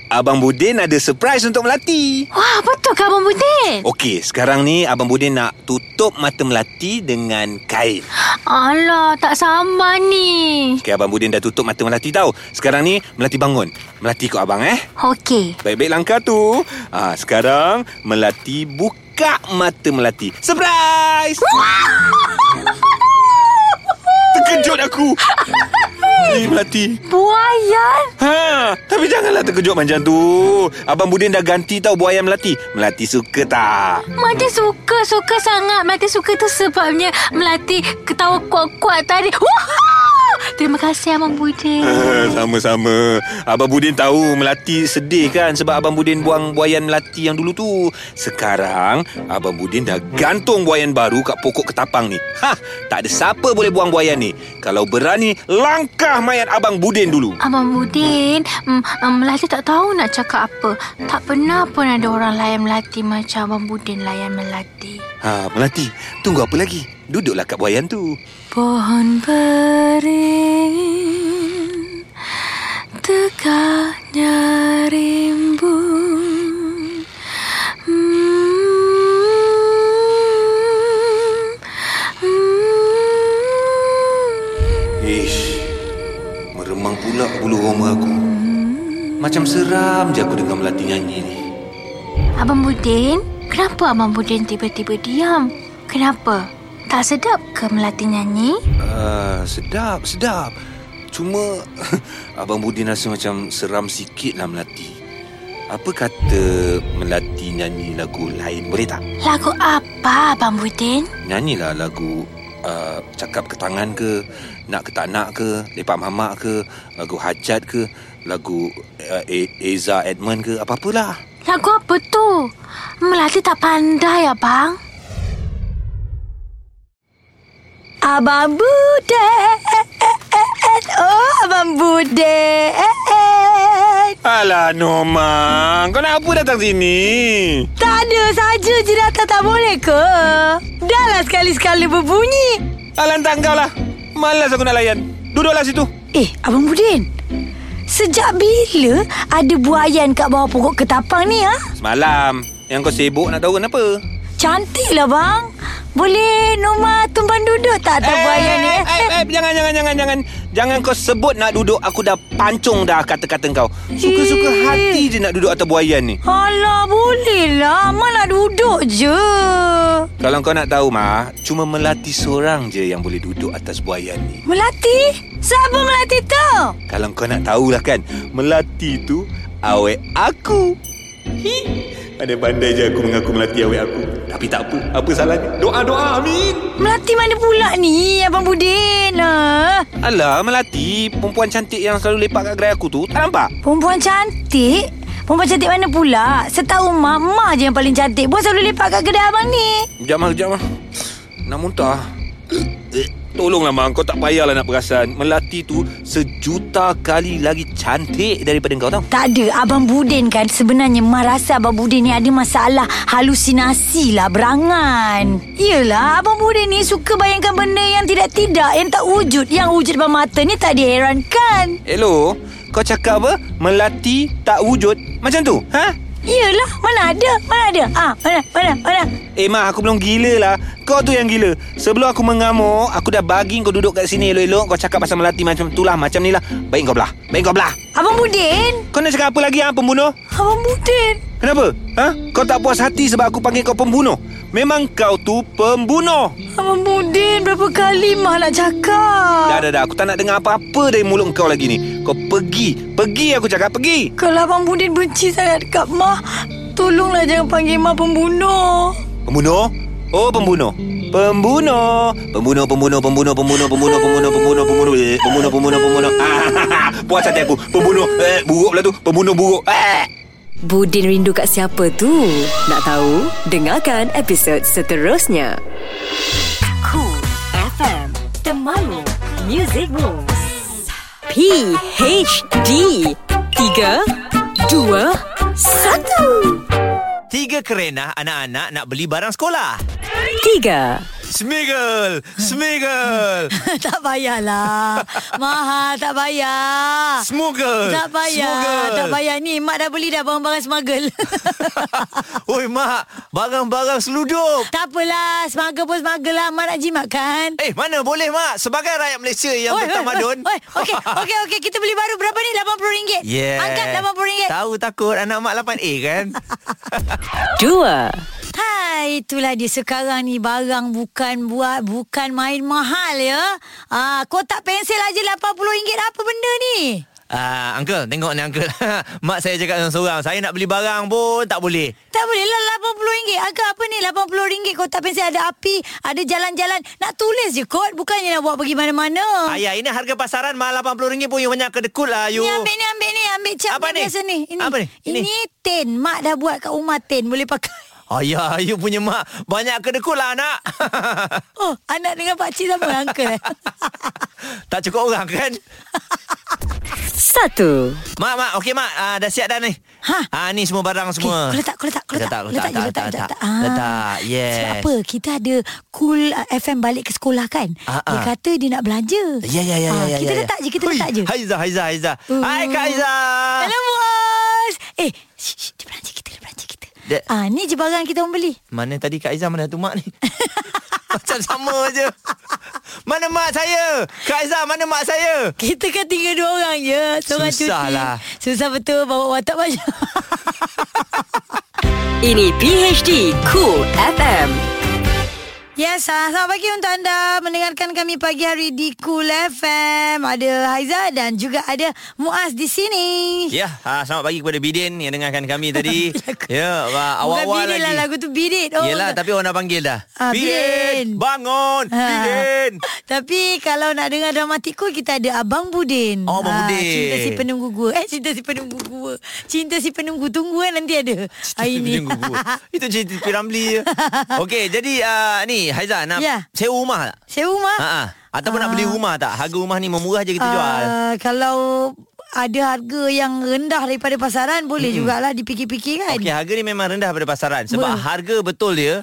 Speaker 7: Abang Budin ada surprise untuk Melati.
Speaker 6: Wah, betul ke Abang Budin?
Speaker 7: Okey, sekarang ni Abang Budin nak tutup mata Melati dengan kain.
Speaker 6: Alah, tak sabar ni.
Speaker 7: Okey, Abang Budin dah tutup mata Melati tau. Sekarang ni Melati bangun. Melati ikut abang eh.
Speaker 6: Okey.
Speaker 7: Baik-baik langkah tu. Ah, sekarang Melati buka mata Melati. Surprise! Terkejut aku. Ni Melati.
Speaker 6: Buayan?
Speaker 7: Ha, tapi janganlah terkejut macam tu. Abang Budin dah ganti tau buaya Melati. Melati suka tak?
Speaker 6: Melati suka, suka sangat. Melati suka tu sebabnya Melati ketawa kuat-kuat tadi. Wah! Terima kasih Abang Budin.
Speaker 7: Ah, Sama-sama. Abang Budin tahu Melati sedih kan sebab Abang Budin buang buayan Melati yang dulu tu. Sekarang, Abang Budin dah gantung buayan baru kat pokok ketapang ni. Ha, tak ada siapa boleh buang buayan ni. Kalau berani, langkah mayat Abang Budin dulu.
Speaker 6: Abang Budin, mm, mm, Melati tak tahu nak cakap apa. Tak pernah pun ada orang layan Melati macam Abang Budin layan Melati.
Speaker 7: Ha, Melati, tunggu apa lagi? Duduklah kat buayan tu.
Speaker 6: Pohon beringin tegaknya rimbun Mm, Hmm. Hmm.
Speaker 7: Ish, meremang pula bulu roma aku. Macam seram je aku dengar Melati nyanyi ni.
Speaker 6: Abang Budin, kenapa Abang Budin tiba-tiba diam? Kenapa? Tak sedap ke Melati nyanyi?
Speaker 7: Ah, sedap, sedap. Cuma Abang Budin rasa macam seram sikit lah Melati. Apa kata Melati nyanyi lagu lain boleh tak?
Speaker 6: Lagu apa Abang Budin?
Speaker 7: Nyanyilah lagu uh, Cakap ke tangan ke Nak ke tak nak ke Lepak mamak ke Lagu hajat ke Lagu uh, E- Eza Edmond ke Apa-apalah
Speaker 6: Lagu apa tu? Melati tak pandai abang.
Speaker 2: Abang Budet. Oh, Abang Budet.
Speaker 7: Alah Norma Kau nak apa datang sini?
Speaker 2: Tak ada saja je datang tak boleh ke? Dah lah sekali-sekala berbunyi.
Speaker 7: Alah hantar kau lah Malas aku nak layan Duduklah situ
Speaker 2: Eh, Abang Budin. Sejak bila ada buayan kat bawah pokok ketapang ni, ha?
Speaker 7: Semalam Yang kau sibuk nak tahu kenapa?
Speaker 2: Cantik lah, bang. Boleh Norma tumpang duduk tak atas buayan ni?
Speaker 7: eh, eh, eh, jangan, jangan, jangan, jangan Jangan kau sebut nak duduk Aku dah pancung dah kata-kata kau Suka-suka
Speaker 2: Ih.
Speaker 7: hati je nak duduk atas buayan ni
Speaker 2: Alah, boleh lah. Mak nak duduk je.
Speaker 7: Kalau kau nak tahu mah, cuma Melati seorang je yang boleh duduk atas buayan ni.
Speaker 2: Melati? Siapa Melati tu?
Speaker 7: Kalau kau nak tahulah kan, Melati tu awet aku. Hi. Ada pandai je aku mengaku Melati awet aku. Tapi tak apa, apa salahnya? Doa-doa amin.
Speaker 2: Melati mana pula ni, Abang Budin? Ha?
Speaker 7: Alah, Melati, perempuan cantik yang selalu lepak kat gerai aku tu, tak nampak?
Speaker 2: Perempuan cantik? Perempuan cantik mana pula? Setahu mak, mak je yang paling cantik. Buat selalu lepak kat kedai abang ni.
Speaker 7: Sekejap mah, sekejap mah. Nak muntah. Eh, Tolonglah Mak, kau tak payahlah nak perasan. Melati tu sejuta kali lagi cantik daripada kau tau.
Speaker 2: Tak ada. Abang Budin kan sebenarnya mak rasa Abang Budin ni ada masalah halusinasi lah, berangan. Yelah, Abang Budin ni suka bayangkan benda yang tidak-tidak, yang tak wujud. Yang wujud depan mata ni tak diherankan.
Speaker 7: Hello, kau cakap apa? Melati tak wujud. Macam tu, ha?
Speaker 2: Yelah, mana ada, mana ada. Ah, mana, mana, mana.
Speaker 7: Eh, Mak, aku belum gila lah. Kau tu yang gila. Sebelum aku mengamuk, aku dah bagi kau duduk kat sini elok-elok. Kau cakap pasal Melati macam tu lah, macam ni lah. Baik kau belah. Baik kau belah.
Speaker 2: Abang Budin.
Speaker 7: Kau nak cakap apa lagi, ha, pembunuh?
Speaker 2: Abang Budin.
Speaker 7: Kenapa? Ha? Kau tak puas hati sebab aku panggil kau pembunuh. Memang kau tu pembunuh.
Speaker 2: Abang Budin, berapa kali mak nak cakap?
Speaker 7: Dah, dah, dah. Aku tak nak dengar apa-apa dari mulut kau lagi ni. Kau pergi. Pergi aku cakap, pergi.
Speaker 2: Kalau Abang Budin benci sangat dekat Mah, tolonglah jangan panggil Mah pembunuh.
Speaker 7: Pembunuh? Oh, pembunuh. Pembunuh. Pembunuh, pembunuh, pembunuh, pembunuh, pembunuh, pembunuh, pembunuh, pembunuh, eh, pembunuh, pembunuh, pembunuh. Ah, puas hati aku. Pembunuh. Eh, buruk lah tu. Pembunuh buruk. Eh.
Speaker 4: Budin rindu kat siapa tu? Nak tahu? Dengarkan episod seterusnya. Cool FM Temanmu Music Moves PHD 3 2 1
Speaker 3: Tiga kerenah anak-anak nak beli barang sekolah.
Speaker 4: 3
Speaker 3: Smiggle! Smiggle!
Speaker 2: tak payahlah. Mahal tak payah.
Speaker 3: Smuggle!
Speaker 2: Tak payah.
Speaker 3: Smuggle.
Speaker 2: Tak payah ni. Mak dah beli dah barang-barang smuggle.
Speaker 3: Oi, Mak. Barang-barang seludup.
Speaker 2: tak apalah. Smuggle pun smuggle lah. Mak nak jimat kan?
Speaker 3: Eh, mana boleh, Mak. Sebagai rakyat Malaysia yang
Speaker 2: Oi, oi,
Speaker 3: bertamadun.
Speaker 2: oi, oi. Okey, okey, okey. Kita beli baru berapa ni? RM80.
Speaker 3: Yeah.
Speaker 2: Angkat RM80.
Speaker 3: Tahu takut anak mak 8A kan?
Speaker 4: 2
Speaker 2: Hai, itulah dia sekarang ni barang bukan buat bukan main mahal ya. Ah, kotak pensel aja RM80 apa benda ni?
Speaker 3: Ah, uncle, tengok ni uncle. mak saya cakap seorang-seorang, saya nak beli barang pun tak boleh.
Speaker 2: Tak boleh lah RM80. Agak apa ni RM80 kotak pensel ada api, ada jalan-jalan. Nak tulis je kot, bukannya nak buat pergi mana-mana.
Speaker 3: Ayah, ini harga pasaran mahal RM80 pun you banyak kedekut lah you.
Speaker 2: Ni ambil ni, ambil ni, ambil cap
Speaker 3: Apa ni?
Speaker 2: biasa ni. Ini.
Speaker 3: Apa ni?
Speaker 2: Ini.
Speaker 3: Ini.
Speaker 2: ini tin. Mak dah buat kat rumah tin, boleh pakai.
Speaker 3: Ayah, you punya mak banyak kedekut lah anak.
Speaker 2: Oh, anak dengan pakcik sama uncle. eh?
Speaker 3: tak cukup orang kan?
Speaker 4: Satu.
Speaker 3: Mak, mak. Okey, mak. Uh, dah siap dah ni.
Speaker 2: Ha.
Speaker 3: Ah, ni semua barang semua.
Speaker 2: Okey, kau letak, kau letak, kau letak.
Speaker 3: Letak, letak,
Speaker 2: je,
Speaker 3: letak, letak, letak.
Speaker 2: Ah.
Speaker 3: Letak, yes.
Speaker 2: Sebab apa? Kita ada cool uh, FM balik ke sekolah kan?
Speaker 3: Ah,
Speaker 2: Dia
Speaker 3: ah.
Speaker 2: kata dia nak belanja.
Speaker 3: Ya, ya, ya, ya,
Speaker 2: Ah,
Speaker 3: ya.
Speaker 2: Kita
Speaker 3: ya, ya.
Speaker 2: letak je, kita
Speaker 3: Hui,
Speaker 2: letak je.
Speaker 3: Haiza, Haiza, Haiza.
Speaker 2: Hmm.
Speaker 3: Hai, Kak Haiza.
Speaker 2: Hello, bos. Eh, shh, shh, dia belanja kita, dia belanja kita.
Speaker 3: Dia-
Speaker 2: Ah, ni je barang kita orang beli.
Speaker 3: Mana tadi Kak Aizah Mana tu mak ni Macam sama je Mana mak saya Kak Aizah mana mak saya
Speaker 2: Kita kan tinggal dua orang je. Seorang
Speaker 3: Susah
Speaker 2: cuti.
Speaker 3: lah.
Speaker 1: Ah.
Speaker 2: Susah betul bawa watak macam.
Speaker 4: Ini PHD Cool FM.
Speaker 2: Yes, ah, selamat pagi untuk anda mendengarkan kami pagi hari di Cool FM. Ada Haiza dan juga ada Muaz di sini.
Speaker 3: Ya ha, Selamat pagi kepada Bidin Yang dengarkan kami tadi Ya ah, Awal-awal
Speaker 2: Bukan bidit
Speaker 3: lagi
Speaker 2: lah lagu tu bidit. Oh,
Speaker 3: Yelah tapi orang dah panggil dah
Speaker 2: Ah, Bidin.
Speaker 3: Bangun
Speaker 2: Ha.
Speaker 3: Bidin
Speaker 2: Tapi kalau nak dengar dramatik cool Kita ada Abang Budin
Speaker 3: Oh, Abang
Speaker 2: Ah,
Speaker 3: Budin.
Speaker 2: Cinta si penunggu gua Eh cinta si penunggu gua Cinta si penunggu Tunggu kan nanti ada Hari ni
Speaker 3: Itu gugur. Itu cerita P. Ramlee je Okey jadi uh, Ni Haizah nak
Speaker 2: Ya.
Speaker 3: sewa rumah tak
Speaker 2: Sewa rumah
Speaker 3: ha, ha. Ataupun nak beli rumah tak Harga rumah ni memurah je kita jual
Speaker 2: Ah, Kalau ada harga yang rendah daripada pasaran Boleh mm-hmm. jugalah dipikir-pikir kan
Speaker 3: Hmm. Okey, harga ni memang rendah pada pasaran sebab
Speaker 2: Boleh.
Speaker 3: harga betul dia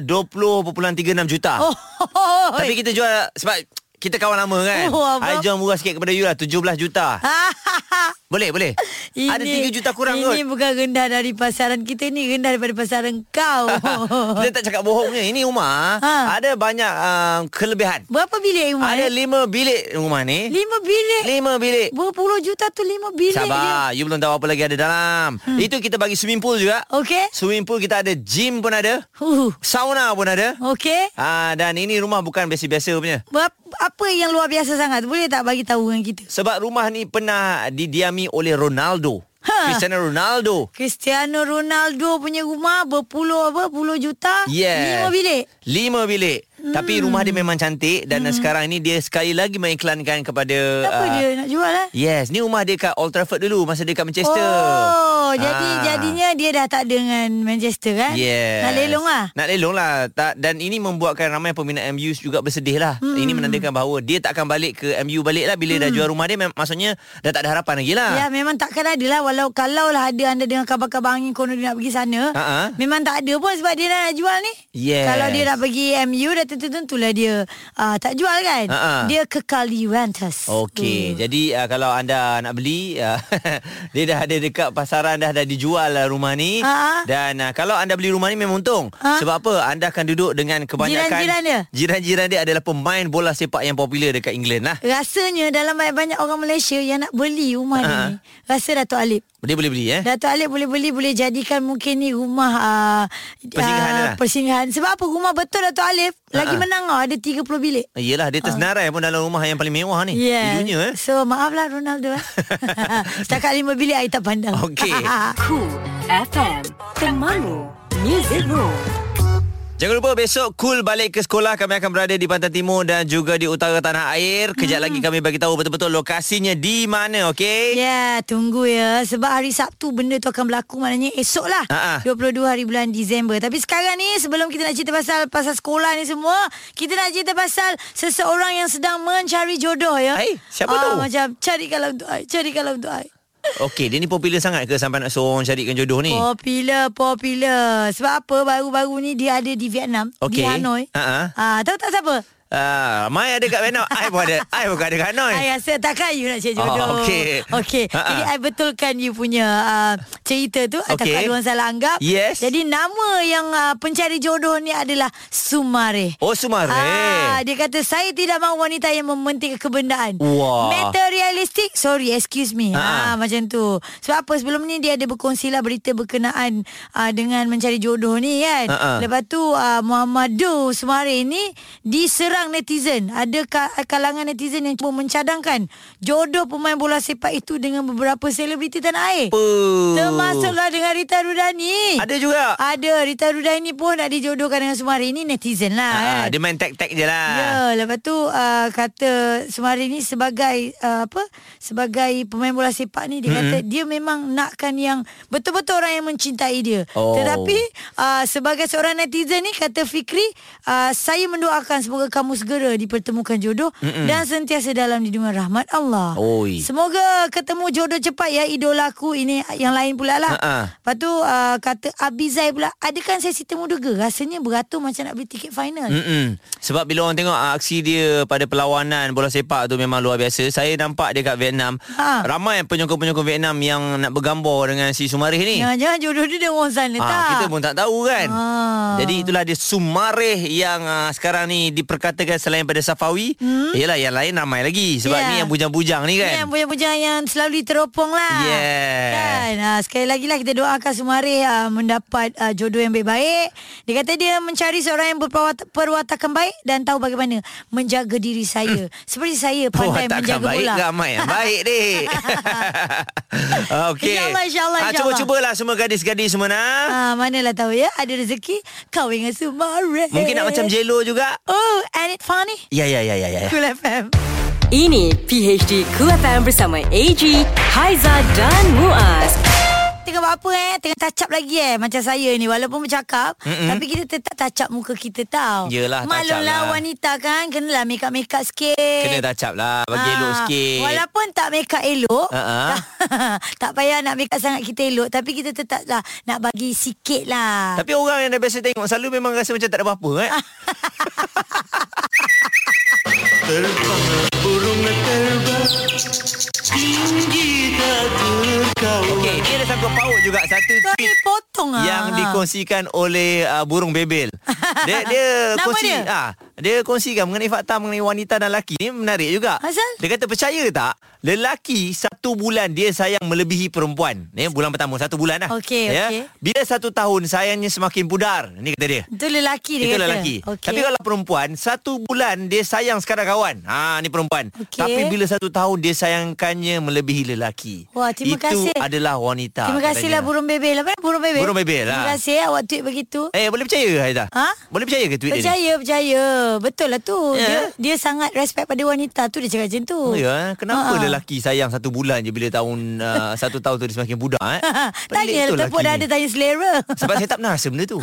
Speaker 3: uh, 20.36 juta.
Speaker 2: Oh,
Speaker 3: Tapi kita jual sebab kita kawan lama kan.
Speaker 2: Oh, abang. Ah.
Speaker 3: I jual murah sikit kepada you lah 17 juta. Boleh, boleh.
Speaker 2: Ini,
Speaker 3: Ada 3 juta kurang
Speaker 2: Ini
Speaker 3: kot.
Speaker 2: bukan rendah dari pasaran kita ni Rendah daripada pasaran kau
Speaker 3: Dia tak cakap bohongnya. Ini rumah
Speaker 2: Oh. Ha.
Speaker 3: ada banyak uh, kelebihan.
Speaker 2: Berapa bilik rumah?
Speaker 3: Ada
Speaker 2: eh?
Speaker 3: 5 bilik rumah ni.
Speaker 2: lima bilik
Speaker 3: 5 bilik.
Speaker 2: Berpuluh juta tu lima bilik je
Speaker 3: Sabar, you belum tahu apa lagi ada dalam. Itu kita bagi swimming pool juga.
Speaker 2: Okey
Speaker 3: Swimming pool kita ada, gym pun ada,
Speaker 2: huh.
Speaker 3: sauna pun ada.
Speaker 2: Okey
Speaker 3: Ah dan ini rumah bukan biasa-biasa punya.
Speaker 2: Berap- Apa yang luar biasa sangat Boleh tak bagi tahu dengan kita
Speaker 3: Sebab rumah ni pernah didiami oleh Ronaldo.
Speaker 2: Ha.
Speaker 3: Ha. Cristiano Ronaldo.
Speaker 2: Cristiano Ronaldo punya rumah Berpuluh apa Puluh juta
Speaker 3: Yes.
Speaker 2: Lima bilik
Speaker 3: Lima bilik. Hmm. Tapi rumah dia memang cantik dan hmm. sekarang ini dia sekali lagi mengiklankan kepada
Speaker 2: Apa
Speaker 3: ah,
Speaker 2: dia nak jual eh
Speaker 3: Yes, ni rumah dia kat Old Trafford dulu masa dia kat Manchester.
Speaker 2: Oh, jadi
Speaker 3: Ah.
Speaker 2: jadinya dia dah tak ada dengan Manchester kan?
Speaker 3: Yes.
Speaker 2: Nak lelong lah.
Speaker 3: Nak lelong lah. Tak, dan ini membuatkan ramai peminat MU juga bersedih lah. Hmm. Ini menandakan bahawa dia tak akan balik ke MU balik lah bila hmm. dah jual rumah dia. mem- Maksudnya dah tak ada harapan lagi lah.
Speaker 2: Ya memang takkan ada lah Walau kalau lah ada anda dengan kabar-kabar angin Kono dia nak pergi sana
Speaker 3: Ha-ha.
Speaker 2: Memang tak ada pun sebab dia dah nak jual ni
Speaker 3: Ah, Yes.
Speaker 2: Kalau dia nak pergi MU dah tentu-tentulah dia uh, tak jual kan
Speaker 3: Ha-ha.
Speaker 2: Dia kekal di Juventus
Speaker 3: Okey,
Speaker 2: Hmm.
Speaker 3: jadi uh, kalau anda nak beli uh, dia dah ada dekat pasaran dah dah dijual lah rumah ni
Speaker 2: Ha.
Speaker 3: dan uh, kalau anda beli rumah ni memang untung
Speaker 2: Ha.
Speaker 3: sebab apa anda akan duduk dengan kebanyakan
Speaker 2: Jiran-jiran dia?
Speaker 3: jiran-jiran dia adalah pemain bola sepak yang popular dekat England lah.
Speaker 2: Rasanya dalam banyak-banyak orang Malaysia yang nak beli rumah
Speaker 3: Ha-ha.
Speaker 2: ni Rasa Dato' Alip
Speaker 3: Dia boleh beli eh.
Speaker 2: Dato' Alip boleh beli Boleh jadikan mungkin ni rumah uh,
Speaker 3: Persinggahan lah. Ha.
Speaker 2: Persinggahan Sebab apa rumah betul Dato' Alip Lagi
Speaker 3: Ha-ha.
Speaker 2: menang tau, Ada 30 bilik
Speaker 3: Yelah dia tersenarai pun dalam rumah yang paling mewah ni
Speaker 2: Yeah.
Speaker 3: di dunia eh.
Speaker 2: So maaflah Ronaldo eh. Setakat lima bilik Saya tak pandang
Speaker 3: Okey.
Speaker 4: Cool FM. Temanmu. Music Room.
Speaker 3: Jangan lupa besok Cool balik ke sekolah Kami akan berada di Pantai Timur Dan juga di utara tanah air Kejap lagi
Speaker 2: Hmm.
Speaker 3: kami bagi tahu betul-betul lokasinya di mana okey?
Speaker 2: Ya, yeah, tunggu ya. Sebab hari Sabtu benda tu akan berlaku maknanya esok lah.
Speaker 3: Ha-ha.
Speaker 2: 22 hari bulan Disember. Tapi sekarang ni sebelum kita nak cerita pasal pasal sekolah ni semua, kita nak cerita pasal seseorang yang sedang mencari jodoh ya.
Speaker 3: Hai, siapa
Speaker 2: Ah,
Speaker 3: tu?
Speaker 2: Macam cari kalau untuk ai, cari kalau untuk ai.
Speaker 3: Okey, dia ni popular sangat ke sampai nak suruh orang carikan jodoh ni?
Speaker 2: Oh. Popular, popular. Sebab apa baru-baru ni dia ada di Vietnam, di
Speaker 3: Okey.
Speaker 2: Hanoi.
Speaker 3: Ha-ha.
Speaker 2: Ah, tahu tak siapa?
Speaker 3: Ah, Mai ada kat Vietnam. I pun ada. I pun ada kat Hanoi.
Speaker 2: I rasa takkan you nak cari jodoh.
Speaker 3: Oh, Eh. okey.
Speaker 2: Okey.
Speaker 3: Ha-ha.
Speaker 2: Jadi I betulkan you punya uh, cerita tu.
Speaker 3: Okey.
Speaker 2: I takut ada orang salah anggap.
Speaker 3: Yes.
Speaker 2: Jadi nama yang uh, pencari jodoh ni adalah Sumare.
Speaker 3: Oh, Sumare.
Speaker 2: Ah, dia kata saya tidak mahu wanita yang mementingkan kebendaan.
Speaker 3: Wah.
Speaker 2: Materialistik. Sorry, excuse me.
Speaker 3: Ha.
Speaker 2: Ah, macam tu. Sebab apa sebelum ni dia ada berkongsilah berita berkenaan ah, dengan mencari jodoh ni kan.
Speaker 3: Ha-ha.
Speaker 2: Lepas tu ah, Muhammadu Sumare ni diserang netizen. Ada ka- kalangan netizen yang cuba mencadangkan jodoh pemain bola sepak itu dengan beberapa selebriti tanah air.
Speaker 3: Apa?
Speaker 2: Termasuklah dengan Rita Rudani.
Speaker 3: Ada juga.
Speaker 2: Ada Rita Rudani pun nak dijodohkan dengan Sumari ni netizen lah
Speaker 3: Ah,
Speaker 2: kan.
Speaker 3: dia main tag-tag je lah.
Speaker 2: Ya, lepas tu uh, kata Sumari ni sebagai uh, apa? Sebagai pemain bola sepak ni dia mm-hmm. kata dia memang nakkan yang betul-betul orang yang mencintai dia. ah,
Speaker 3: Oh.
Speaker 2: Tetapi uh, sebagai seorang netizen ni kata Fikri, uh, ah, saya mendoakan semoga kamu kamu segera dipertemukan jodoh Mm-mm. dan sentiasa dalam lindungan rahmat Allah.
Speaker 3: Oi.
Speaker 2: Semoga ketemu jodoh cepat ya idolaku ini yang lain pula lah.
Speaker 3: Ha-ha.
Speaker 2: Lepas tu uh, kata Abizai pula, adakan sesi temu duga? Rasanya beratur macam nak beli tiket final. Mm.
Speaker 3: Mm-mm. Sebab bila orang tengok ah, aksi dia pada perlawanan bola sepak tu memang luar biasa. Saya nampak dekat Vietnam, ha.
Speaker 2: Ha.
Speaker 3: ramai penyokong-penyokong Vietnam yang nak bergambar dengan si Sumarih ni.
Speaker 2: Jangan-jangan jodoh dia dengan orang sana
Speaker 3: Eh. Ah,
Speaker 2: tak?
Speaker 3: kita pun tak tahu kan.
Speaker 2: Ah.
Speaker 3: Jadi itulah dia Sumareh yang uh, sekarang ni diperkatakan selain pada Safawi, hmm? ialah yang lain ramai lagi sebab
Speaker 2: Yeah.
Speaker 3: ni yang bujang-bujang ni kan.
Speaker 2: Kan? Ya. Yang bujang-bujang yang selalu diteropong lah.
Speaker 3: Yeah.
Speaker 2: Kan? Ha, sekali lagi lah kita doakan Sumari ha, mendapat ha, jodoh yang baik-baik. Dia kata dia mencari seorang yang berperwatakan baik dan tahu bagaimana menjaga diri saya. Seperti saya pandai
Speaker 3: takkan
Speaker 2: menjaga
Speaker 3: Hmm. Oh, baik
Speaker 2: bola.
Speaker 3: ramai yang baik dik. Okey.
Speaker 2: InsyaAllah, insyaAllah,
Speaker 3: Ah,
Speaker 2: insyaAllah.
Speaker 3: cuba-cubalah semua gadis-gadis semua nak.
Speaker 2: Ha, manalah tahu ya, ada rezeki kau dengan Sumari.
Speaker 3: Mungkin nak macam Jelo juga.
Speaker 2: Oh, and it funny.
Speaker 3: Ya ya ya ya ya.
Speaker 2: Cool FM.
Speaker 4: Ini PHD Cool FM bersama AG, Haiza dan Muaz.
Speaker 2: Tengah buat apa eh Tengah touch up lagi eh Macam saya ni Walaupun bercakap Mm-mm. Tapi kita tetap touch up muka kita tau
Speaker 3: Yelah, touch up
Speaker 2: Maklumlah
Speaker 3: lah.
Speaker 2: wanita kan Kenalah make up-make up sikit
Speaker 3: Kena touch up lah bagi
Speaker 2: Ah,
Speaker 3: elok sikit.
Speaker 2: Walaupun tak make up elok
Speaker 3: Ah, ah.
Speaker 2: Tak payah nak make up sangat kita elok Tapi kita tetap lah Nak bagi sikit lah
Speaker 3: Tapi orang yang dah biasa tengok selalu memang rasa macam tak ada apa-apa kan. Okey, ni ada sangkut paut juga satu
Speaker 2: Kau ni
Speaker 3: tweet
Speaker 2: potong lah
Speaker 3: yang dikongsikan oleh uh, burung bebel. Dia dia
Speaker 2: Nama
Speaker 3: kongsi
Speaker 2: dia?
Speaker 3: ah dia kongsikan mengenai fakta mengenai wanita dan lelaki ni menarik juga.
Speaker 2: Azal?
Speaker 3: Dia kata percaya tak lelaki satu bulan dia sayang melebihi perempuan. Ni bulan pertama satu bulan lah.
Speaker 2: Okey, okey.
Speaker 3: Bila satu tahun sayangnya semakin pudar. Ni kata dia.
Speaker 2: Itu lelaki dia
Speaker 3: Itu
Speaker 2: kata.
Speaker 3: lelaki
Speaker 2: okay.
Speaker 3: okay. Tapi kalau perempuan Satu bulan Dia sayang sekadar kawan ha, Ni perempuan
Speaker 2: Okey.
Speaker 3: Tapi bila satu tahun Dia sayangkannya Melebihi lelaki
Speaker 2: Wah, terima
Speaker 3: Itu
Speaker 2: kasih.
Speaker 3: adalah wanita
Speaker 2: Terima kasihlah
Speaker 3: katanya.
Speaker 2: burung bebel Apa burung bebel
Speaker 3: Ah, Burung bebel lah.
Speaker 2: Terima kasih awak tweet begitu
Speaker 3: Eh boleh percaya ke Haizah?
Speaker 2: Ha?
Speaker 3: Boleh percaya ke tweet dia ni?
Speaker 2: Percaya, percaya. Betul lah tu.
Speaker 3: Ya.
Speaker 2: Dia dia sangat respect pada wanita tu dia cakap macam tu.
Speaker 3: Ya, eh? kenapa
Speaker 2: Ha-ha.
Speaker 3: lelaki sayang satu bulan je bila tahun uh, satu tahun tu dia semakin budak eh?
Speaker 2: Tanya
Speaker 3: Pelik
Speaker 2: lah
Speaker 3: betul
Speaker 2: tepuk dah
Speaker 3: lelaki
Speaker 2: ada
Speaker 3: ni.
Speaker 2: tanya selera.
Speaker 3: Sebab saya tak pernah rasa benda tu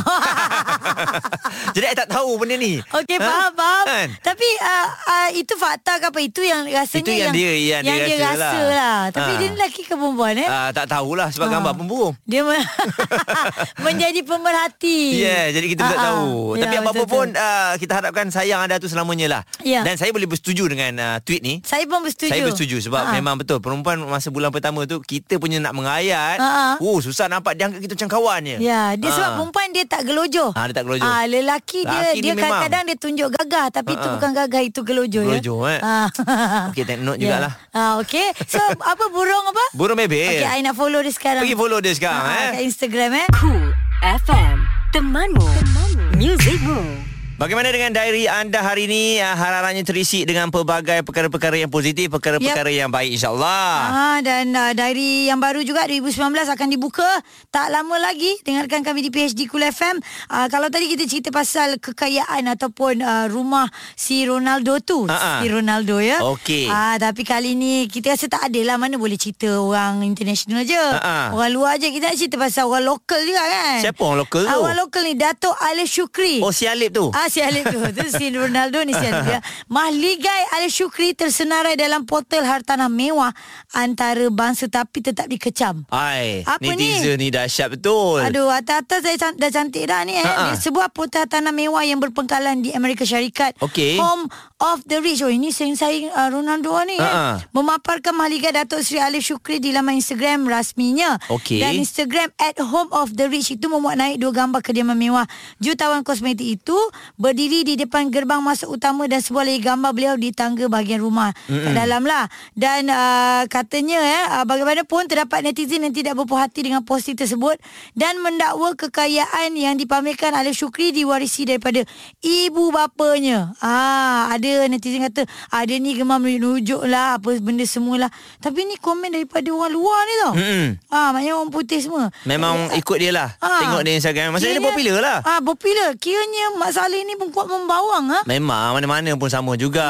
Speaker 3: Jadi saya tak tahu benda ni
Speaker 2: Okey,
Speaker 3: Ha?
Speaker 2: faham, faham.
Speaker 3: Kan?
Speaker 2: Tapi uh, uh, itu fakta ke apa? Itu yang rasanya
Speaker 3: Itu yang dia- yang dia rasa
Speaker 2: rasa
Speaker 3: lah.
Speaker 2: lah. Tapi
Speaker 3: Ha.
Speaker 2: dia ni lelaki ke perempuan eh?
Speaker 3: Ah, tak tahulah sebab
Speaker 2: Ha.
Speaker 3: gambar pemburung
Speaker 2: Dia men- menjadi pemerhati.
Speaker 3: Ya, yeah, jadi kita tak
Speaker 2: Ha-ha.
Speaker 3: tahu.
Speaker 2: Ya,
Speaker 3: Tapi apa
Speaker 2: betul-betul.
Speaker 3: pun uh, kita harapkan sayang anda tu selamanya lah.
Speaker 2: Ya.
Speaker 3: Dan saya boleh bersetuju dengan uh, tweet ni.
Speaker 2: Saya pun bersetuju. Ah,
Speaker 3: Saya bersetuju sebab
Speaker 2: Ha-ha.
Speaker 3: memang betul perempuan masa bulan pertama tu kita punya nak mengayat.
Speaker 2: Ha-ha.
Speaker 3: Oh, susah nampak dia anggap kita macam kawan je.
Speaker 2: Ya, dia
Speaker 3: Ha.
Speaker 2: sebab perempuan dia tak gelojoh.
Speaker 3: Ah, dia tak gelojoh.
Speaker 2: Ah, lelaki dia
Speaker 3: Lelaki ni
Speaker 2: dia
Speaker 3: memang.
Speaker 2: kadang-kadang dia tunjuk gagah tapi itu
Speaker 3: Ha, ha.
Speaker 2: bukan gagah itu gelojoh ya.
Speaker 3: Gelojoh, eh.
Speaker 2: Ah.
Speaker 3: Okey, take note
Speaker 2: Ya.
Speaker 3: jugalah.
Speaker 2: Ah, okey. So, apa burung apa?
Speaker 3: Burung bebel.
Speaker 2: Okey, I nak follow dia sekarang.
Speaker 3: Pergi follow dia sekarang
Speaker 2: Ah, Kat
Speaker 3: eh.
Speaker 2: Instagram eh.
Speaker 4: Cool FM. Temanmu. Temanmu. Musicmu.
Speaker 3: Bagaimana dengan diary anda hari ini? Ah, Harap-harapnya terisi dengan pelbagai perkara-perkara yang positif, perkara-perkara yang baik insyaAllah.
Speaker 2: Ah, dan uh, diary yang baru juga 2019 akan dibuka tak lama lagi dengarkan kami di PHD Cool FM uh, kalau tadi kita cerita pasal kekayaan ataupun uh, rumah si Ronaldo tu
Speaker 3: Ha-ha.
Speaker 2: si Ronaldo ya
Speaker 3: Ha, Okey.
Speaker 2: ah, tapi kali ni kita rasa tak adalah mana boleh cerita orang international je
Speaker 3: Ha-ha.
Speaker 2: orang luar je kita nak cerita pasal orang lokal juga kan
Speaker 3: Ha, Siapa orang lokal tu?
Speaker 2: Ah, orang lokal ni Dato' Alif Shukri
Speaker 3: Oh, si Alip tu?
Speaker 2: Ah si Alif tu Tu si Ronaldo ni si Alif ya. Mahligai Alif Syukri tersenarai dalam portal hartanah mewah antara bangsa tapi tetap dikecam.
Speaker 3: Hai,
Speaker 2: Apa ni?
Speaker 3: netizen ni dahsyat betul.
Speaker 2: Aduh, atas-atas saya can- dah cantik dah ni eh.
Speaker 3: Ha-ha.
Speaker 2: Dia sebuah portal tanah mewah yang berpengkalan di Amerika Syarikat.
Speaker 3: Okey.
Speaker 2: Home of the rich. Oh, ini sayang saya uh, Ronaldo ni eh.
Speaker 3: Ha-ha.
Speaker 2: Memaparkan mahligai Datuk Seri Alif Syukri di laman Instagram rasminya.
Speaker 3: Okey.
Speaker 2: Dan Instagram at home of the rich itu memuat naik dua gambar kediaman mewah jutawan kosmetik itu berdiri di depan gerbang masuk utama dan sebuah lagi gambar beliau di tangga bahagian rumah mm kat dalam lah dan uh, katanya eh, uh, bagaimanapun terdapat netizen yang tidak berpuas hati dengan posting tersebut dan mendakwa kekayaan yang dipamerkan oleh Syukri diwarisi daripada ibu bapanya ah ada netizen kata ada dia ni gemar merujuk lah apa benda semualah tapi ni komen daripada orang luar ni tau
Speaker 3: Mm-mm.
Speaker 2: Ah, maknanya orang putih semua.
Speaker 3: Hmm, Memang ikut dia lah
Speaker 2: Ah.
Speaker 3: Tengok dia Instagram Maksudnya dia
Speaker 2: Kiranya-
Speaker 3: popular lah
Speaker 2: Ah, popular. Ha, Kiranya Mak Saleh ni pun kuat membawang ha?
Speaker 3: Memang mana-mana pun sama juga.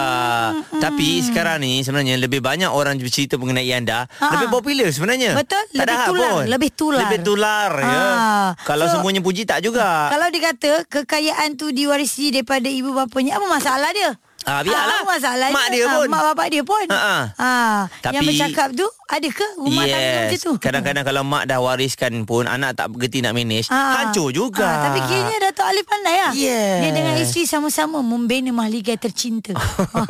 Speaker 3: Hmm, Tapi sekarang ni sebenarnya lebih banyak orang bercerita mengenai anda,
Speaker 2: Ha-ha.
Speaker 3: lebih popular sebenarnya.
Speaker 2: Ah. Betul.
Speaker 3: Tak
Speaker 2: Lebih
Speaker 3: ada hak
Speaker 2: tular.
Speaker 3: Pun.
Speaker 2: Lebih tular.
Speaker 3: Lebih tular ya.
Speaker 2: Ah.
Speaker 3: Kalau
Speaker 2: So,
Speaker 3: semuanya puji tak juga.
Speaker 2: Kalau dikata kekayaan tu diwarisi daripada ibu bapanya, apa masalah dia?
Speaker 3: Ah, biarlah.
Speaker 2: apa masalah
Speaker 3: Mak dia
Speaker 2: Ah,
Speaker 3: pun.
Speaker 2: Mak bapak dia pun.
Speaker 3: Ha, ha.
Speaker 2: Ha. yang
Speaker 3: Tapi-
Speaker 2: bercakap tu ada ke rumah tangga macam tu?
Speaker 3: Kadang-kadang kalau mak dah wariskan pun anak tak bergerti nak manage,
Speaker 2: Ah.
Speaker 3: hancur juga.
Speaker 2: Ah, tapi kiranya Dato' Alif pandai lah.
Speaker 3: Yes.
Speaker 2: Dia dengan isteri sama-sama membina mahligai tercinta.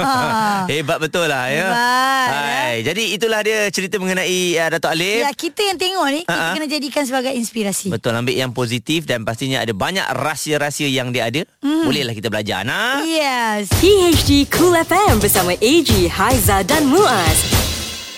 Speaker 2: Ah.
Speaker 3: Hebat betul lah ya.
Speaker 2: Hebat,
Speaker 3: Hai. Jadi itulah dia cerita mengenai uh, Dato' Alif.
Speaker 2: Ya, kita yang tengok ni, kita
Speaker 3: Ha, ha.
Speaker 2: kena jadikan sebagai inspirasi.
Speaker 3: Betul ambil yang positif dan pastinya ada banyak rahsia-rahsia yang dia ada.
Speaker 2: Hmm.
Speaker 3: Mm. Bolehlah kita belajar nah.
Speaker 2: Yes.
Speaker 4: PHD Cool FM bersama AG, Haiza dan Muaz.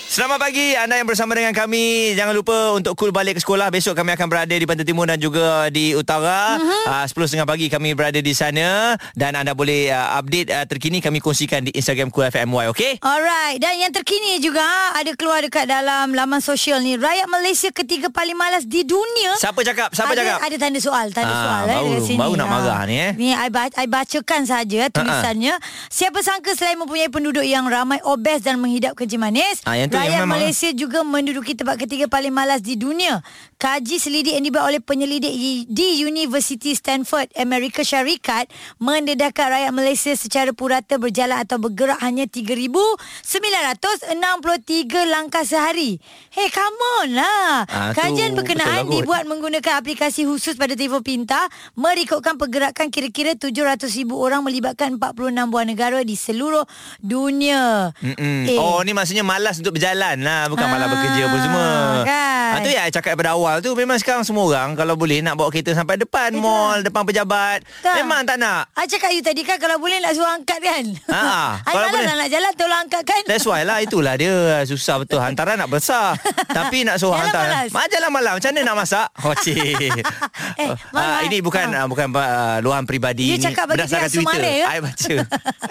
Speaker 3: Selamat pagi anda yang bersama dengan kami. Jangan lupa untuk cool balik ke sekolah. Besok kami akan berada di Pantai Timur dan juga di Utara.
Speaker 2: Hmm.
Speaker 3: Uh-huh. 10.30 pagi kami berada di sana dan anda boleh uh, update uh, terkini kami kongsikan di Instagram Cool FM MY, okey?
Speaker 2: Alright, dan yang terkini juga ha, ada keluar dekat dalam laman sosial ni. Rakyat Malaysia ketiga paling malas di dunia.
Speaker 3: Siapa cakap? Siapa
Speaker 2: ada,
Speaker 3: cakap?
Speaker 2: Ada tanda soal, tanda
Speaker 3: Ah,
Speaker 2: soal eh,
Speaker 3: baru-
Speaker 2: dekat sini.
Speaker 3: baru nak marah
Speaker 2: Ah.
Speaker 3: ni, eh. Ah,
Speaker 2: Ni I, ba- I bacakan saja eh, tulisannya. Siapa sangka selain mempunyai penduduk yang ramai obes dan menghidap kencing manis,
Speaker 3: Ah, yang tu
Speaker 2: rakyat
Speaker 3: yang memang-
Speaker 2: Malaysia juga menduduki tempat ketiga paling malas di dunia. Kaji selidik yang dibuat oleh penyelidik i- di University Stanford, Amerika Syarikat mendedahkan rakyat Malaysia secara purata berjalan atau bergerak hanya 3,963 langkah sehari. Hey, come on lah.
Speaker 3: Ah, tu
Speaker 2: Kajian berkenaan
Speaker 3: betul lah kot.
Speaker 2: dibuat menggunakan aplikasi khusus pada telefon pintar merikutkan pergerakan kira-kira 700 ribu orang melibatkan 46 buah negara di seluruh dunia.
Speaker 3: Mm-mm. Eh. Oh ni maksudnya malas untuk berjalan lah Bukan malas
Speaker 2: Ah,
Speaker 3: bekerja pun semua ha,
Speaker 2: kan.
Speaker 3: Tu yang I cakap pada awal tu Memang sekarang semua orang Kalau boleh nak bawa kereta sampai depan mall Depan pejabat
Speaker 2: Tak.
Speaker 3: Memang tak nak
Speaker 2: I cakap you tadi kan kalau boleh nak suruh angkat kan.
Speaker 3: Ha,
Speaker 2: I
Speaker 3: kalau
Speaker 2: malas
Speaker 3: boleh.
Speaker 2: lah nak jalan tolong angkat kan.
Speaker 3: That's why lah Itulah dia Susah betul Hantaran nak besar Tapi nak suruh
Speaker 2: Jalan
Speaker 3: hantar
Speaker 2: malas.
Speaker 3: Majalah malam Macam mana nak masak Hocih
Speaker 2: Eh,
Speaker 3: Ah,
Speaker 2: malas.
Speaker 3: Ini bukan ah,
Speaker 2: Ah.
Speaker 3: bukan ah, luahan
Speaker 2: You
Speaker 3: peribadi Ini
Speaker 2: cakap bagi
Speaker 3: berdasarkan
Speaker 2: pihak
Speaker 3: Twitter
Speaker 2: Sumare, ya?
Speaker 3: I baca